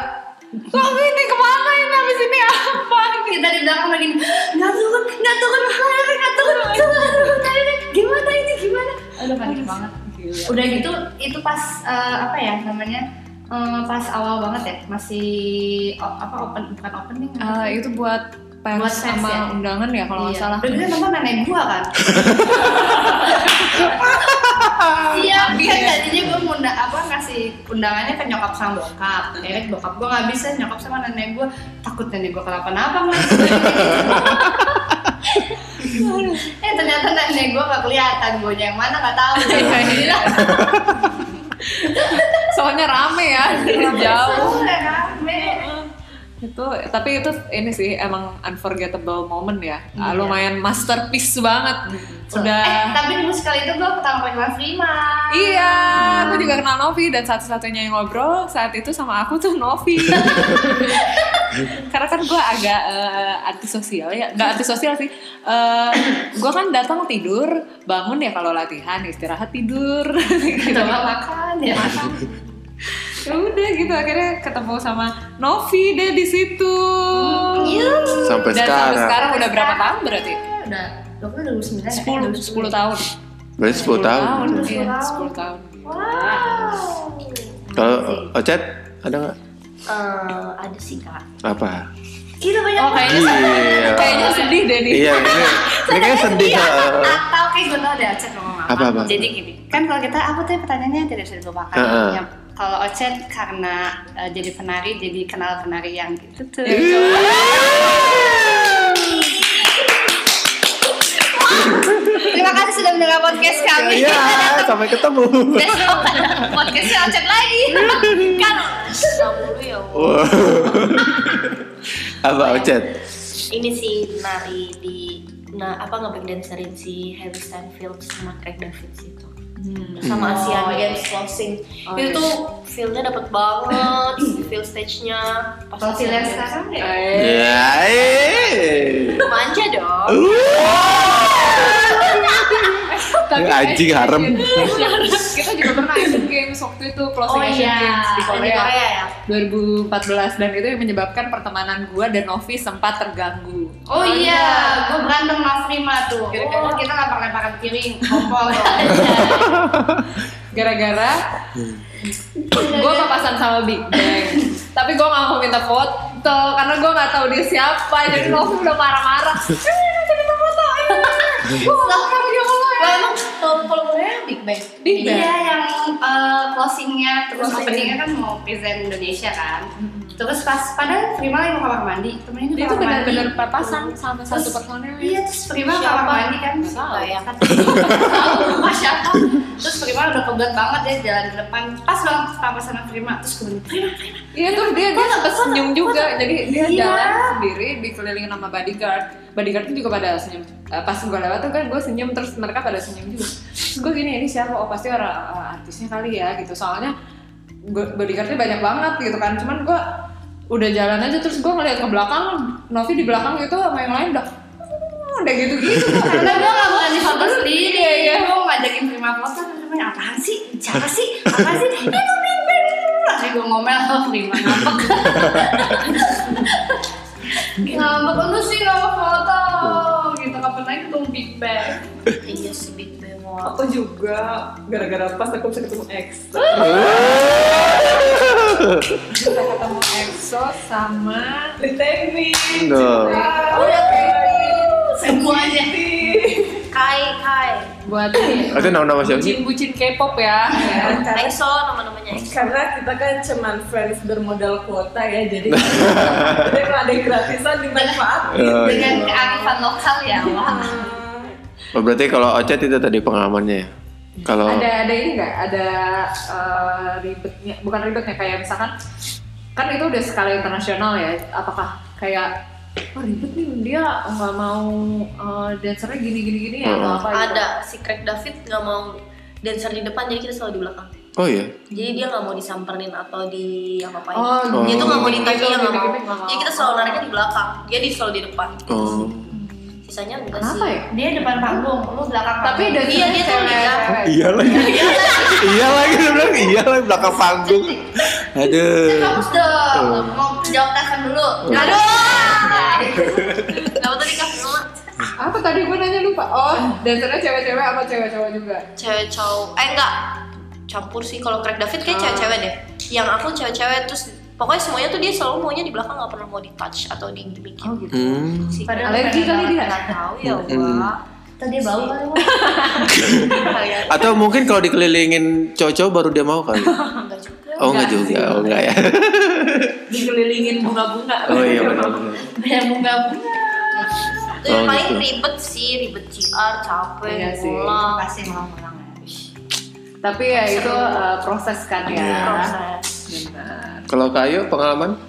[SPEAKER 1] Kok ini kemana ini habis ini apa?
[SPEAKER 3] kita di belakang lagi nggak turun nggak turun nggak turun nggak turun nggak turun, nggak turun. gimana ini gimana
[SPEAKER 1] Aduh panik banget. Gila.
[SPEAKER 3] udah gitu itu pas eh, apa ya namanya Eh, pas awal banget ya masih o- apa open bukan opening
[SPEAKER 1] Eh, itu buat pers
[SPEAKER 3] Buat pers
[SPEAKER 1] sama
[SPEAKER 3] ya?
[SPEAKER 1] undangan ya kalau nggak
[SPEAKER 3] Iya.
[SPEAKER 1] salah.
[SPEAKER 3] Udah gitu nonton nenek gua kan. Iya, kan tadinya gua ngunda apa ngasih undangannya ke nyokap sama bokap. Ya kan bokap gua nggak bisa nyokap sama nenek gua takut nenek gua kenapa-napa kan. eh ternyata nenek gua nggak kelihatan, guanya yang mana nggak tahu.
[SPEAKER 1] Iya,
[SPEAKER 3] Gila.
[SPEAKER 1] Soalnya rame ya,
[SPEAKER 3] Iya,
[SPEAKER 1] jauh.
[SPEAKER 3] Soalnya ya kan? rame.
[SPEAKER 1] itu tapi itu ini sih emang unforgettable moment ya. Ah,
[SPEAKER 3] Iya.
[SPEAKER 1] lumayan masterpiece banget.
[SPEAKER 3] So-
[SPEAKER 1] Udah.
[SPEAKER 3] Eh, tapi di musikal itu gua pertama kali kenal Prima.
[SPEAKER 1] Iya, aku juga kenal Novi dan satu-satunya yang ngobrol saat itu sama aku tuh Novi. Karena kan gue agak eh, antisosial ya, nggak antisosial sih. Eh, gue kan datang tidur, bangun ya kalau latihan, istirahat tidur. gitu.
[SPEAKER 3] Kita makan ya makan.
[SPEAKER 1] Ya Udah gitu akhirnya ketemu sama Novi deh di situ.
[SPEAKER 3] Iya.
[SPEAKER 2] sampai
[SPEAKER 1] Dan sampai
[SPEAKER 2] sekarang.
[SPEAKER 1] sekarang udah berapa tahun berarti?
[SPEAKER 5] Eh,
[SPEAKER 3] udah dua puluh dua
[SPEAKER 5] ya?
[SPEAKER 3] sembilan
[SPEAKER 1] 10, 10 tahun.
[SPEAKER 2] Berarti 10 tahun.
[SPEAKER 1] Iya,
[SPEAKER 3] 10
[SPEAKER 1] 10 tahun.
[SPEAKER 3] wow
[SPEAKER 2] Kalau Ocet ada nggak?
[SPEAKER 5] Eh, ada sih kak
[SPEAKER 2] Apa?
[SPEAKER 3] gila banyak
[SPEAKER 1] Oh, kayaknya
[SPEAKER 2] Gila.
[SPEAKER 1] Kayaknya sedih deh nih.
[SPEAKER 2] Iya, ini, ini kayaknya sedih.
[SPEAKER 3] banget.
[SPEAKER 2] eh.
[SPEAKER 3] atau kayak gue tau deh Ocet ngomong apa
[SPEAKER 2] Apa-apa?
[SPEAKER 3] jadi gini kan kalau kita apa tuh pertanyaannya tidak bisa dilupakan
[SPEAKER 2] Heeh.
[SPEAKER 3] Yang kalau Ocet karena eh, jadi penari jadi kenal penari yang gitu tuh terima kasih sudah mendengar podcast kami
[SPEAKER 2] Iya, sampai ketemu.
[SPEAKER 3] besok ada podcastnya Ocet lagi kan
[SPEAKER 5] dulu ya Allah.
[SPEAKER 2] Wah. Apa oh, Ocet?
[SPEAKER 5] ini sih nari di nah apa nge dancerin si Harry Stanfield sama Craig David itu sama Asian
[SPEAKER 3] Oh, iya.
[SPEAKER 5] Games closing
[SPEAKER 3] Oh,
[SPEAKER 5] itu
[SPEAKER 3] iya.
[SPEAKER 5] tuh feelnya dapet banget feel stage-nya pas
[SPEAKER 3] kalau
[SPEAKER 5] Asian
[SPEAKER 3] pilihan
[SPEAKER 5] Games.
[SPEAKER 3] sekarang ya
[SPEAKER 2] Ya, eh.
[SPEAKER 5] manja dong
[SPEAKER 2] Ini anjing harem.
[SPEAKER 1] kita juga pernah Asian Games waktu itu
[SPEAKER 3] Oh
[SPEAKER 1] closing Asian
[SPEAKER 3] iya,
[SPEAKER 1] Games di
[SPEAKER 5] Oh, iya. di
[SPEAKER 1] Korea.
[SPEAKER 5] Korea ya
[SPEAKER 1] 2014 dan itu yang menyebabkan pertemanan gua dan Novi sempat terganggu.
[SPEAKER 3] Oh iya, gue berantem sama Prima tuh.
[SPEAKER 1] Gara-gara-
[SPEAKER 3] Oh, kita lempar lemparan piring, kompor.
[SPEAKER 1] Gara-gara
[SPEAKER 3] Iya.
[SPEAKER 1] gua papasan sama Big Bang. Tapi gua nggak mau minta foto karena gua nggak tahu dia siapa.
[SPEAKER 2] Iya.
[SPEAKER 1] Jadi Novi udah marah-marah. "Eh, nanti minta foto. eh." Gua
[SPEAKER 2] Iya.
[SPEAKER 1] nggak mau video call ya.
[SPEAKER 5] Lah emang kalau kalau Korea Big Bang
[SPEAKER 1] Big Bang.
[SPEAKER 3] Iya, yang eh, closingnya terus
[SPEAKER 5] Closing.
[SPEAKER 3] openingnya kan mau present Indonesia kan. Terus pas padahal Prima lagi mau kamar mandi,
[SPEAKER 1] Dia
[SPEAKER 3] temennya di
[SPEAKER 1] tuh
[SPEAKER 3] kamar mandi.
[SPEAKER 1] benar-benar papasan sama satu personel.
[SPEAKER 3] Iya, terus Prima
[SPEAKER 5] Siapa?
[SPEAKER 3] kamar mandi kan.
[SPEAKER 5] Salah ya.
[SPEAKER 3] Tahu rumah siapa. Terus Prima udah kebelet banget dia jalan ke depan. Pas banget sama sama Prima, terus gue bilang, Prima, Prima.
[SPEAKER 1] Iya terus dia dia sempat senyum juga. Jadi dia
[SPEAKER 3] Iya.
[SPEAKER 1] jalan sendiri dikelilingin sama bodyguard. Bodyguard itu juga pada senyum. Eh, Pas gue lewat tuh kan gue senyum terus mereka pada senyum juga. Terus gue gini ini siapa? Oh pasti orang eh, artisnya kali ya gitu. Soalnya gue- bodyguardnya banyak banget gitu kan. Cuman gue udah jalan aja terus gue ngeliat ke belakang Novi di belakang gitu sama yang lain udah udah gitu gitu
[SPEAKER 3] Karena gue gak mau ngasih foto sendiri,
[SPEAKER 1] Iya, iya.
[SPEAKER 3] gue mau ngajakin Prima foto, namanya apaan sih? Siapa sih? Apa sih? Itu Big Bang. Langsung gue ngomel sama Prima, ngambek. ngambek, lu sih gak mau foto. Gitu, kapan lagi ketemu Big Bang.
[SPEAKER 5] iya sih Big Bang wah.
[SPEAKER 4] Aku juga gara-gara pas aku bisa ketemu ex.
[SPEAKER 1] kita ketemu EXO sama
[SPEAKER 4] Retake me.
[SPEAKER 2] Duh.
[SPEAKER 5] udah
[SPEAKER 3] Semuanya.
[SPEAKER 5] Kai Kai
[SPEAKER 1] buat
[SPEAKER 2] Itu nama-nama siapa sih?
[SPEAKER 1] bucin-bucin K-pop ya.
[SPEAKER 5] EXO nama-namanya EXO
[SPEAKER 4] Karena kita kan cuman friends bermodal kuota ya, jadi jadi kalau ada yang gratisan dimanfaatin.
[SPEAKER 2] Oh,
[SPEAKER 3] Dengan
[SPEAKER 2] iya.
[SPEAKER 3] kearifan lokal ya, wah.
[SPEAKER 2] Oh, berarti kalau Ocet itu tadi pengalamannya ya? Kalau
[SPEAKER 1] ada ada ini nggak ada eh, ribetnya bukan ribetnya kayak misalkan kan itu udah skala internasional ya apakah kayak oh ribet nih dia nggak mau eh, dancernya gini gini gini ya atau
[SPEAKER 2] Hmm.
[SPEAKER 1] apa gitu?
[SPEAKER 5] ada si Craig David nggak mau dancer di depan jadi kita selalu di belakang
[SPEAKER 2] Oh iya.
[SPEAKER 5] jadi dia nggak mau disamperin atau di apa apain
[SPEAKER 1] Oh,
[SPEAKER 5] dia tuh nggak mau
[SPEAKER 1] gitu.
[SPEAKER 5] ditanya dia nggak mau
[SPEAKER 1] Gimik-gimik nggak mau.
[SPEAKER 5] jadi kita selalu nariknya di belakang dia di selalu di depan
[SPEAKER 2] Oh.
[SPEAKER 5] sisanya enggak
[SPEAKER 1] kenapa
[SPEAKER 5] sih
[SPEAKER 1] ya
[SPEAKER 3] Dia depan panggung, lu belakang
[SPEAKER 1] tapi
[SPEAKER 3] panggung.
[SPEAKER 1] dancernya
[SPEAKER 5] Iya, dia tuh
[SPEAKER 1] cewek-
[SPEAKER 5] enggak.
[SPEAKER 1] cewek.
[SPEAKER 2] Iya lagi. iya lagi dia bilang iya lagi belakang panggung. Aduh.
[SPEAKER 3] Kamu sudah mau jawab telepon dulu.
[SPEAKER 1] Iya.
[SPEAKER 3] Aduh.
[SPEAKER 5] Kenapa tadi kak Noma?
[SPEAKER 4] Apa tadi gue nanya lupa? Oh, dancernya cewek-cewek apa cewek-cowok juga?
[SPEAKER 5] Cewek cowok, eh enggak campur sih kalau Craig David
[SPEAKER 1] Ah.
[SPEAKER 5] kayak cewek-cewek deh. Yang aku cewek-cewek terus pokoknya semuanya tuh dia selalu maunya di belakang nggak pernah mau di touch atau di gimikin.
[SPEAKER 1] Oh gitu.
[SPEAKER 2] Hmm.
[SPEAKER 5] Si
[SPEAKER 3] Padahal
[SPEAKER 1] Alergi kali dia.
[SPEAKER 5] Nggak tahu ya
[SPEAKER 2] Hmm.
[SPEAKER 5] Allah.
[SPEAKER 3] Tadi dia bau
[SPEAKER 5] kan
[SPEAKER 3] kali. Wak.
[SPEAKER 5] Kalian
[SPEAKER 2] Atau mungkin kalau dikelilingin cowok-cowok baru dia mau kali.
[SPEAKER 5] enggak juga.
[SPEAKER 2] Oh enggak juga, oh enggak ya.
[SPEAKER 4] Dikelilingin bunga-bunga.
[SPEAKER 2] Oh iya benar-benar.
[SPEAKER 3] Banyak bunga-bunga.
[SPEAKER 5] Itu yang
[SPEAKER 2] Oh,
[SPEAKER 5] paling
[SPEAKER 2] gitu.
[SPEAKER 5] ribet sih, ribet GR, capek,
[SPEAKER 1] Iya sih.
[SPEAKER 5] pulang.
[SPEAKER 3] Pasti ngulang-ngulang ya.
[SPEAKER 1] Tapi ya itu eh, proses kan ya.
[SPEAKER 2] Iya.
[SPEAKER 5] Proses.
[SPEAKER 1] Benar.
[SPEAKER 2] Kalau kayu pengalaman?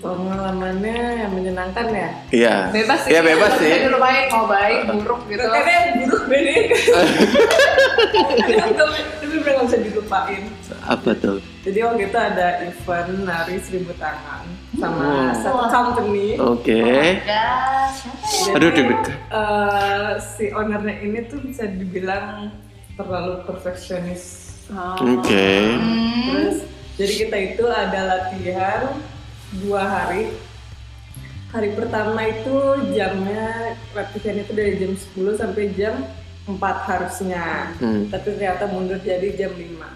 [SPEAKER 4] Pengalamannya yang menyenangkan ya?
[SPEAKER 2] Iya.
[SPEAKER 1] Bebas sih.
[SPEAKER 2] Iya bebas sih.
[SPEAKER 1] Bisa dilupain mau baik, buruk gitu.
[SPEAKER 4] Karena yang buruk bening. Tapi bener gak bisa dilupain.
[SPEAKER 2] Apa tuh?
[SPEAKER 4] Jadi waktu itu ada event nari seribu tangan sama
[SPEAKER 2] Wow.
[SPEAKER 4] satu company.
[SPEAKER 2] Oke.
[SPEAKER 3] Udah. siapa ya?
[SPEAKER 4] Jadi,
[SPEAKER 2] Oh. Aduh deg-degan.
[SPEAKER 4] eh, si ownernya ini tuh bisa dibilang terlalu perfeksionis.
[SPEAKER 2] Ah. Oke.
[SPEAKER 4] Terus jadi kita itu ada latihan dua hari. Hari pertama itu jamnya latihan itu dari jam 10 sampai jam 4 harusnya.
[SPEAKER 2] Hmm.
[SPEAKER 4] Tapi ternyata mundur jadi jam 5.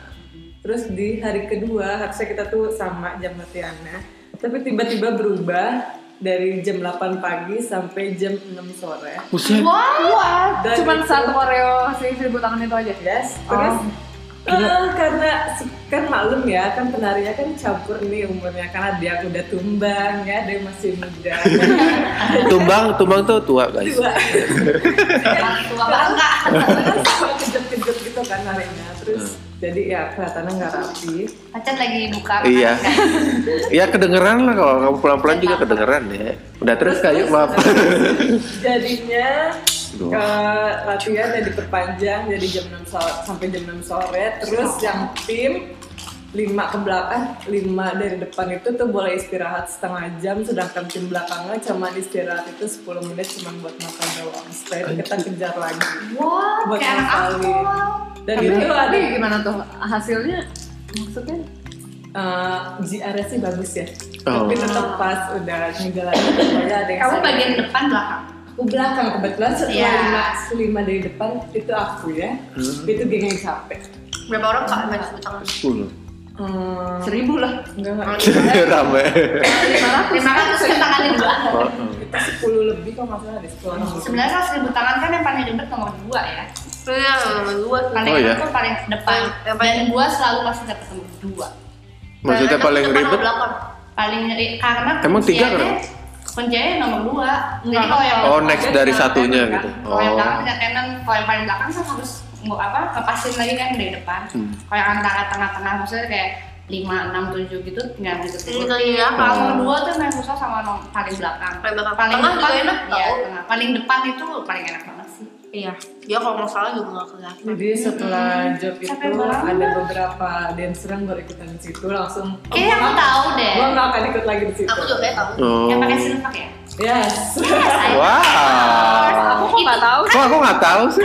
[SPEAKER 4] Terus di hari kedua harusnya kita tuh sama jam latihannya. Tapi tiba-tiba berubah dari jam 8 pagi sampai jam 6 sore.
[SPEAKER 2] Buset.
[SPEAKER 1] Wah,
[SPEAKER 4] Dan
[SPEAKER 1] cuman
[SPEAKER 4] itu-
[SPEAKER 1] satu koreo si seribu tangan itu aja.
[SPEAKER 4] Yes, terus eh, karena kan maklum ya kan penarinya kan campur nih umurnya karena dia udah tumbang ya dia masih muda
[SPEAKER 2] Tumbang, tumbang tuh tua guys.
[SPEAKER 4] tua
[SPEAKER 3] Tua bangga.
[SPEAKER 4] terus suka kejut-kejut gitu kan narinya terus jadi ya kelihatannya nggak rapi
[SPEAKER 3] Pacar lagi buka. makan,
[SPEAKER 2] Iya.
[SPEAKER 3] kan?
[SPEAKER 2] Ya kedengeran lah kalau kamu pelan-pelan juga kedengeran ya. Udah terus kayu maaf.
[SPEAKER 4] jadinya
[SPEAKER 2] Duh.
[SPEAKER 4] ke latihan yang diperpanjang jadi jam 6 sore sampai jam 6 sore terus yang tim lima ke belakang lima dari depan itu tuh boleh istirahat setengah jam sedangkan tim belakangnya cuma istirahat itu 10 menit cuma buat makan doang setelah itu kita kejar lagi
[SPEAKER 3] Wah,
[SPEAKER 4] buat
[SPEAKER 3] kayak anak aku.
[SPEAKER 4] ngapalin dan
[SPEAKER 1] Tapi,
[SPEAKER 4] itu ada
[SPEAKER 1] tapi gimana tuh hasilnya? Maksudnya?
[SPEAKER 4] eh, GR-nya sih bagus ya
[SPEAKER 2] Oh.
[SPEAKER 4] tapi tetap pas udah ngejalanin pokoknya ada yang
[SPEAKER 3] Kamu
[SPEAKER 4] sadar.
[SPEAKER 3] bagian depan belakang.
[SPEAKER 4] aku belakang kebetulan setelah
[SPEAKER 3] Iya.
[SPEAKER 4] lima, lima dari depan itu aku ya
[SPEAKER 1] Hmm.
[SPEAKER 4] itu geng yang capek
[SPEAKER 5] Berapa orang kak main sebut tangan?
[SPEAKER 2] Sepuluh.
[SPEAKER 4] hmm,
[SPEAKER 1] Seribu lah.
[SPEAKER 4] enggak enggak
[SPEAKER 2] Rame.
[SPEAKER 3] Terima kasih tangannya dua.
[SPEAKER 2] Oh,
[SPEAKER 4] kita sepuluh lebih kok masalah ada sepuluh orang
[SPEAKER 3] Sebenarnya kalau seribu tangan kan yang paling deket nomor dua ya.
[SPEAKER 5] Iya, dua.
[SPEAKER 3] Paling
[SPEAKER 2] Oh, iya.
[SPEAKER 3] aku paling depan.
[SPEAKER 5] Yang paling-
[SPEAKER 3] Dan gua selalu pasti dapet nomor dua.
[SPEAKER 2] Maksudnya paling ribet.
[SPEAKER 3] Paling nyeri karena
[SPEAKER 2] Emang tiga
[SPEAKER 3] kunciannya-
[SPEAKER 2] kenapa?
[SPEAKER 3] Kunciannya nomor dua. Jadi kalau yang kan,
[SPEAKER 2] Oh next dari satunya gitu.
[SPEAKER 3] Kalau yang
[SPEAKER 2] Oh.
[SPEAKER 3] belakang bisa tenan, kalau yang paling belakang kan harus nggak apa kepasin lagi kan dari depan.
[SPEAKER 2] Hmm.
[SPEAKER 3] Kalau yang antara tengah-tengah maksudnya kayak lima enam tujuh gitu tinggal gitu.
[SPEAKER 5] Tinggal di belakang.
[SPEAKER 3] Kalau nomor dua tuh yang susah sama nomor paling belakang.
[SPEAKER 5] Paling belakang. Tengah juga enak,
[SPEAKER 3] Iya,
[SPEAKER 5] tau.
[SPEAKER 3] tengah. Paling depan itu paling enak banget sih.
[SPEAKER 5] Iya. Dia kalau nggak salah juga nggak kelihatan.
[SPEAKER 4] jadi setelah job itu
[SPEAKER 3] Capek banget.
[SPEAKER 4] ada beberapa dancer yang berikutan di situ langsung
[SPEAKER 3] Kayaknya aku tahu deh.
[SPEAKER 4] gue nggak akan ikut lagi di situ
[SPEAKER 5] Aku juga kayak tahu.
[SPEAKER 2] Oh.
[SPEAKER 3] Yang pakai silpak ya.
[SPEAKER 4] yes
[SPEAKER 2] Ah. Wow.
[SPEAKER 3] kok nggak tahu?
[SPEAKER 2] Kok aku nggak tahu sih?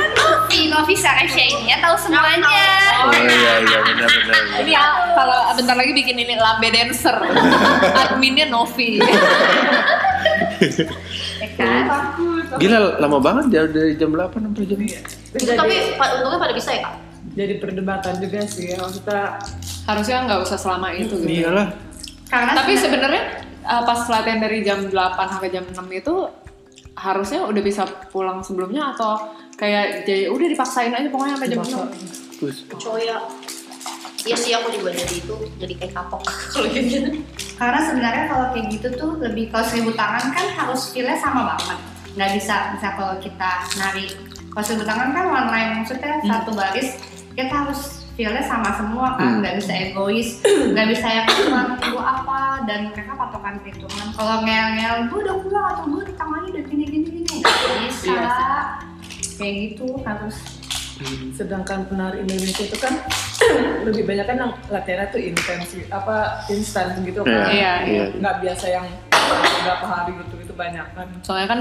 [SPEAKER 3] Si Novi Sarasya ini ya tahu semuanya.
[SPEAKER 2] Oh iya iya benar-benar.
[SPEAKER 1] Ini ya, kalau bentar lagi bikin ini lambe dancer. Adminnya Novi.
[SPEAKER 3] Ya kan?
[SPEAKER 2] Gila lama banget dari, dari jam 8 sampai jam
[SPEAKER 4] Terus
[SPEAKER 1] Iya,
[SPEAKER 5] Itu
[SPEAKER 4] jadi,
[SPEAKER 5] tapi pa- untungnya pada bisa ya kak.
[SPEAKER 4] jadi perdebatan juga sih ya. maksudnya
[SPEAKER 1] Harusnya nggak usah selama itu gitu.
[SPEAKER 2] Iyalah.
[SPEAKER 3] Karena
[SPEAKER 1] Tapi
[SPEAKER 3] sebenarnya-
[SPEAKER 1] sebenarnya uh, pas latihan dari jam 8 sampai jam 6 itu harusnya udah bisa pulang sebelumnya atau kayak jadi udah dipaksain aja pokoknya sampai jam 6.
[SPEAKER 2] Terus
[SPEAKER 5] Coya. Iya sih aku juga jadi itu jadi kayak kapok kalau kayak gitu.
[SPEAKER 3] Karena sebenarnya kalau kayak gitu tuh lebih kalau seribu tangan kan harus feel-nya sama banget. Nggak bisa bisa kalau kita nari. Kalau seribu tangan kan one line maksudnya
[SPEAKER 4] Hmm.
[SPEAKER 3] satu baris kita harus feel-nya sama semua
[SPEAKER 2] Hmm.
[SPEAKER 3] kan, nggak bisa egois, nggak bisa yang cuma gue apa dan mereka patokan perhitungan. Kalau ngel-ngel, gue udah pulang atau gue di tangannya udah gini-gini gini, nggak bisa.
[SPEAKER 4] Iya sih.
[SPEAKER 3] kayak gitu harus
[SPEAKER 4] sedangkan penari Indonesia itu kan lebih banyak kan yang latihannya tuh intens apa instan gitu kan
[SPEAKER 1] Iya,
[SPEAKER 2] iya.
[SPEAKER 4] nggak biasa yang beberapa hari gitu itu banyak kan
[SPEAKER 1] Soalnya kan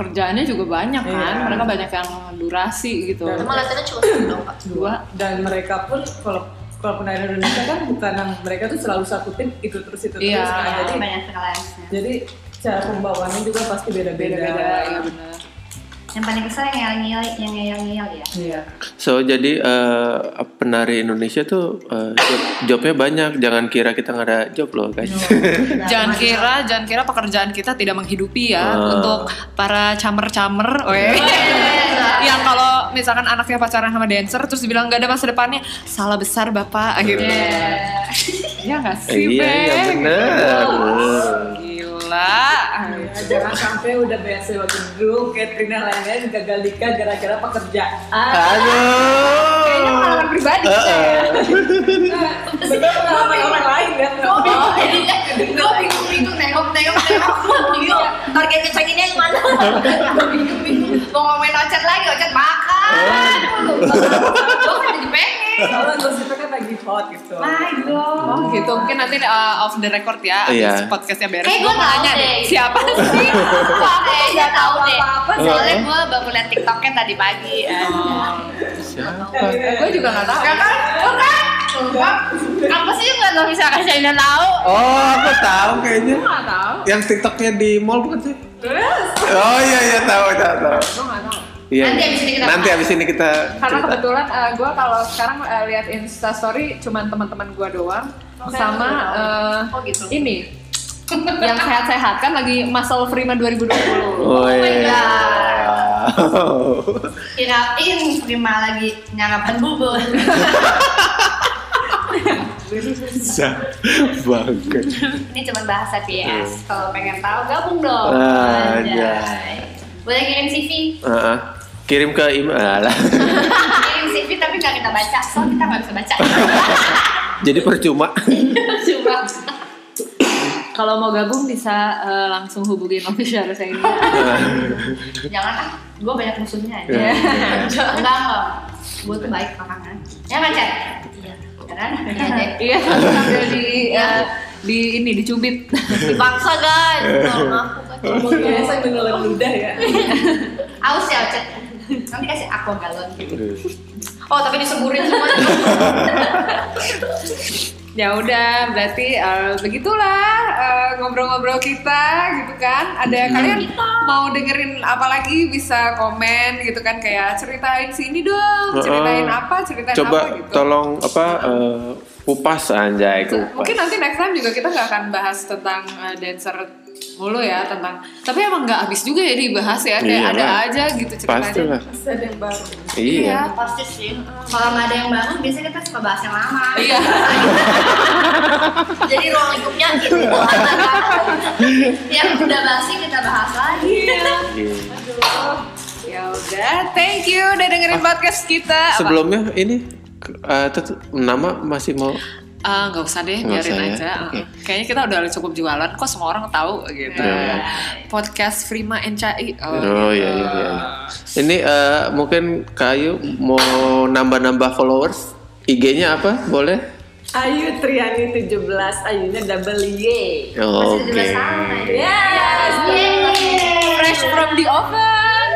[SPEAKER 1] kerjaannya juga banyak kan,
[SPEAKER 4] Iya.
[SPEAKER 1] mereka banyak yang durasi gitu.
[SPEAKER 4] Dan-
[SPEAKER 5] Emang latihannya cuma satu dong kak.
[SPEAKER 1] Dua.
[SPEAKER 4] dan mereka pun kalau kalau penari Indonesia kan bukan yang mereka tuh selalu satu tim itu terus itu
[SPEAKER 1] Iya.
[SPEAKER 3] ya,
[SPEAKER 4] terus kan.
[SPEAKER 6] Jadi
[SPEAKER 4] jadi
[SPEAKER 6] banyak freelance-nya.
[SPEAKER 4] jadi cara pembawaannya juga pasti beda-beda.
[SPEAKER 1] beda-beda iya benar
[SPEAKER 6] Yang paling kesel yang ngeyel-ngeyel, yang ngeyel-ngeyel ya.
[SPEAKER 4] Iya.
[SPEAKER 2] So jadi eh, penari Indonesia tuh eh, job, jobnya banyak. Jangan kira kita nggak ada job loh guys.
[SPEAKER 1] jangan kira jangan kira pekerjaan kita tidak menghidupi ya
[SPEAKER 2] Ah.
[SPEAKER 1] untuk para camer-camer weh.
[SPEAKER 2] Iya.
[SPEAKER 1] yang kalau misalkan anaknya pacaran sama dancer terus dibilang gak ada masa depannya salah besar bapak gitu
[SPEAKER 4] Iya.
[SPEAKER 1] ya nggak
[SPEAKER 2] Eh,
[SPEAKER 1] sih
[SPEAKER 2] iya iya
[SPEAKER 1] Beng?
[SPEAKER 2] benar.
[SPEAKER 1] gila
[SPEAKER 4] Ya, jangan sampai udah BSW waktu dulu Katrina lainnya gagal nikah gara-gara pekerjaan.
[SPEAKER 1] Kayaknya
[SPEAKER 2] Aduh.
[SPEAKER 1] pengalaman pribadi
[SPEAKER 2] Heeh.
[SPEAKER 4] Betul pengalaman orang lain kan?
[SPEAKER 3] Oh, jadi gue bingung-bingung nengok nengok nengok bingung targetnya cenginnya yang mana Gua bingung-bingung mau ngomongin ocet lagi ocet makan gue kan jadi pengen
[SPEAKER 4] Soalnya gosipnya kan lagi hot gitu.
[SPEAKER 1] oh gitu mungkin nanti uh, off the record ya abis
[SPEAKER 2] Iya.
[SPEAKER 1] podcastnya beres
[SPEAKER 3] Eh,
[SPEAKER 1] Gua
[SPEAKER 3] gua tahu
[SPEAKER 1] nanya
[SPEAKER 3] deh.
[SPEAKER 1] deh, siapa sih
[SPEAKER 3] Wah, kayaknya Eh, tahu deh soalnya
[SPEAKER 2] Heeh.
[SPEAKER 3] gue baru liat tiktoknya tadi pagi eh.
[SPEAKER 4] Iya,
[SPEAKER 2] Siapa?
[SPEAKER 1] gue juga nggak tahu
[SPEAKER 3] ya kan Gua kan Gua- apa sih yang nggak bisa kasih Aina tahu
[SPEAKER 2] Oh aku tahu kayaknya.
[SPEAKER 1] nggak tahu
[SPEAKER 2] Yang TikToknya di mall bukan sih? Oh iya iya tahu tahu tahu.
[SPEAKER 1] gue nggak tahu
[SPEAKER 2] Iya.
[SPEAKER 3] Nanti abis ini kita-
[SPEAKER 2] Nanti abis ini kita
[SPEAKER 1] karena
[SPEAKER 2] cerita.
[SPEAKER 1] kebetulan gue kalau sekarang eh, lihat instastory cuman teman-teman gue doang sama eh,
[SPEAKER 3] Oh, gitu.
[SPEAKER 1] ini yang sehat-sehat kan lagi muscle Freeman 2020
[SPEAKER 2] Oh, iya.
[SPEAKER 3] kirain prima lagi nyarapan bubur
[SPEAKER 2] Bangke.
[SPEAKER 3] ini cuma bahasa PS kalau pengen tahu gabung dong
[SPEAKER 2] Ah,
[SPEAKER 3] Anjay.
[SPEAKER 2] iya.
[SPEAKER 3] boleh kirim CV
[SPEAKER 2] Heeh. Kirim ke email Ah, lah.
[SPEAKER 3] kirim CV tapi nggak kita baca soalnya kita nggak bisa baca
[SPEAKER 2] Jadi percuma.
[SPEAKER 3] coba
[SPEAKER 1] kalau mau gabung bisa eh, langsung hubungin official saya ini
[SPEAKER 3] jangan ah gue banyak musuhnya aja
[SPEAKER 2] Iya.
[SPEAKER 3] enggak enggak gue tuh baik orangnya ya kan Chat? iya kan iya deh
[SPEAKER 1] iya sambil di eh, di ini dicubit
[SPEAKER 3] dipaksa guys tolong aku
[SPEAKER 4] Ngomong biasa menelan ludah ya.
[SPEAKER 3] aus ya Chat. nanti kasih aku galon oh tapi diseburin semua
[SPEAKER 1] ya udah berarti eh, begitulah eh, ngobrol-ngobrol kita gitu kan
[SPEAKER 2] Hmm.
[SPEAKER 1] ada kalian mau dengerin apa lagi bisa komen gitu kan kayak ceritain sini dong ceritain
[SPEAKER 2] Heeh.
[SPEAKER 1] apa ceritain
[SPEAKER 2] Coba
[SPEAKER 1] apa gitu
[SPEAKER 2] tolong apa eh, kupas anjay kupas.
[SPEAKER 1] mungkin nanti next time juga kita nggak akan bahas tentang eh, dancer mulu ya tentang tapi emang nggak habis juga ya dibahas ya kayak
[SPEAKER 2] Iyalah.
[SPEAKER 1] ada aja gitu
[SPEAKER 2] Iya, kan? Pasti
[SPEAKER 1] ceritanya
[SPEAKER 2] lah.
[SPEAKER 4] Pasti ada yang baru.
[SPEAKER 2] Iya.
[SPEAKER 3] pasti sih kalau nggak ada yang baru biasanya kita suka bahas yang lama
[SPEAKER 1] iya
[SPEAKER 3] jadi ruang lingkupnya gitu yang udah basi kita bahas lagi
[SPEAKER 2] Iya.
[SPEAKER 1] ya udah thank you udah
[SPEAKER 2] Ah.
[SPEAKER 1] dengerin podcast kita Apa?
[SPEAKER 2] Sebelumnya ini eh, tet- nama masih mau
[SPEAKER 1] Ah, nggak usah deh,
[SPEAKER 2] Nggak
[SPEAKER 1] biarin
[SPEAKER 2] usah ya?
[SPEAKER 1] aja. Ah,
[SPEAKER 2] Oke.
[SPEAKER 1] Kayaknya kita udah cukup jualan kok semua orang tahu gitu.
[SPEAKER 2] Iya.
[SPEAKER 1] Podcast Frima NCI. Oh,
[SPEAKER 2] Oh iya iya iya. Ini eh, mungkin Kayu mau nambah-nambah followers IG-nya apa? Boleh?
[SPEAKER 4] Ayu Triani 17, Ayunya double Y.
[SPEAKER 3] masih
[SPEAKER 2] Oke.
[SPEAKER 3] 17 tahun ya.
[SPEAKER 4] Yes.
[SPEAKER 2] iya.
[SPEAKER 1] Fresh from the oven.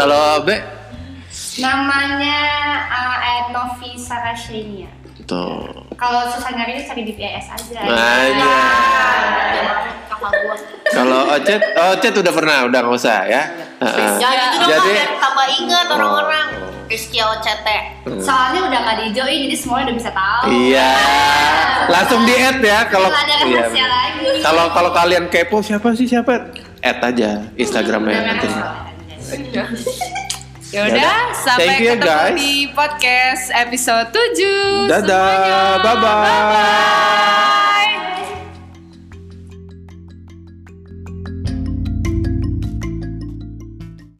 [SPEAKER 2] Kalau B
[SPEAKER 3] namanya uh, at Novi Sarashenia
[SPEAKER 2] tuh.
[SPEAKER 3] kalau susah nyari cari di PS aja
[SPEAKER 2] Aja.
[SPEAKER 3] kakak gua
[SPEAKER 2] Kalau Ocet, Oh, Ocet udah pernah, udah nggak usah ya. Heeh.
[SPEAKER 1] Iya.
[SPEAKER 3] ya gitu dong
[SPEAKER 2] Jadi-
[SPEAKER 3] kan, biar tambah ingat orang-orang
[SPEAKER 2] Oh.
[SPEAKER 3] Rizky OCT soalnya udah nggak dijauhin jadi semuanya udah bisa tahu
[SPEAKER 2] Iya. Langsung di add ya kalau
[SPEAKER 3] Nggak Oh. ada
[SPEAKER 2] iya,
[SPEAKER 3] rahasia lagi.
[SPEAKER 2] Kalau kalau kalian kepo siapa sih siapa? Add aja Instagramnya nanti.
[SPEAKER 1] Ya udah, sampai
[SPEAKER 2] Thank you,
[SPEAKER 1] ketemu
[SPEAKER 2] guys.
[SPEAKER 1] di podcast episode 7. semuanya.
[SPEAKER 2] Dadah. Bye bye.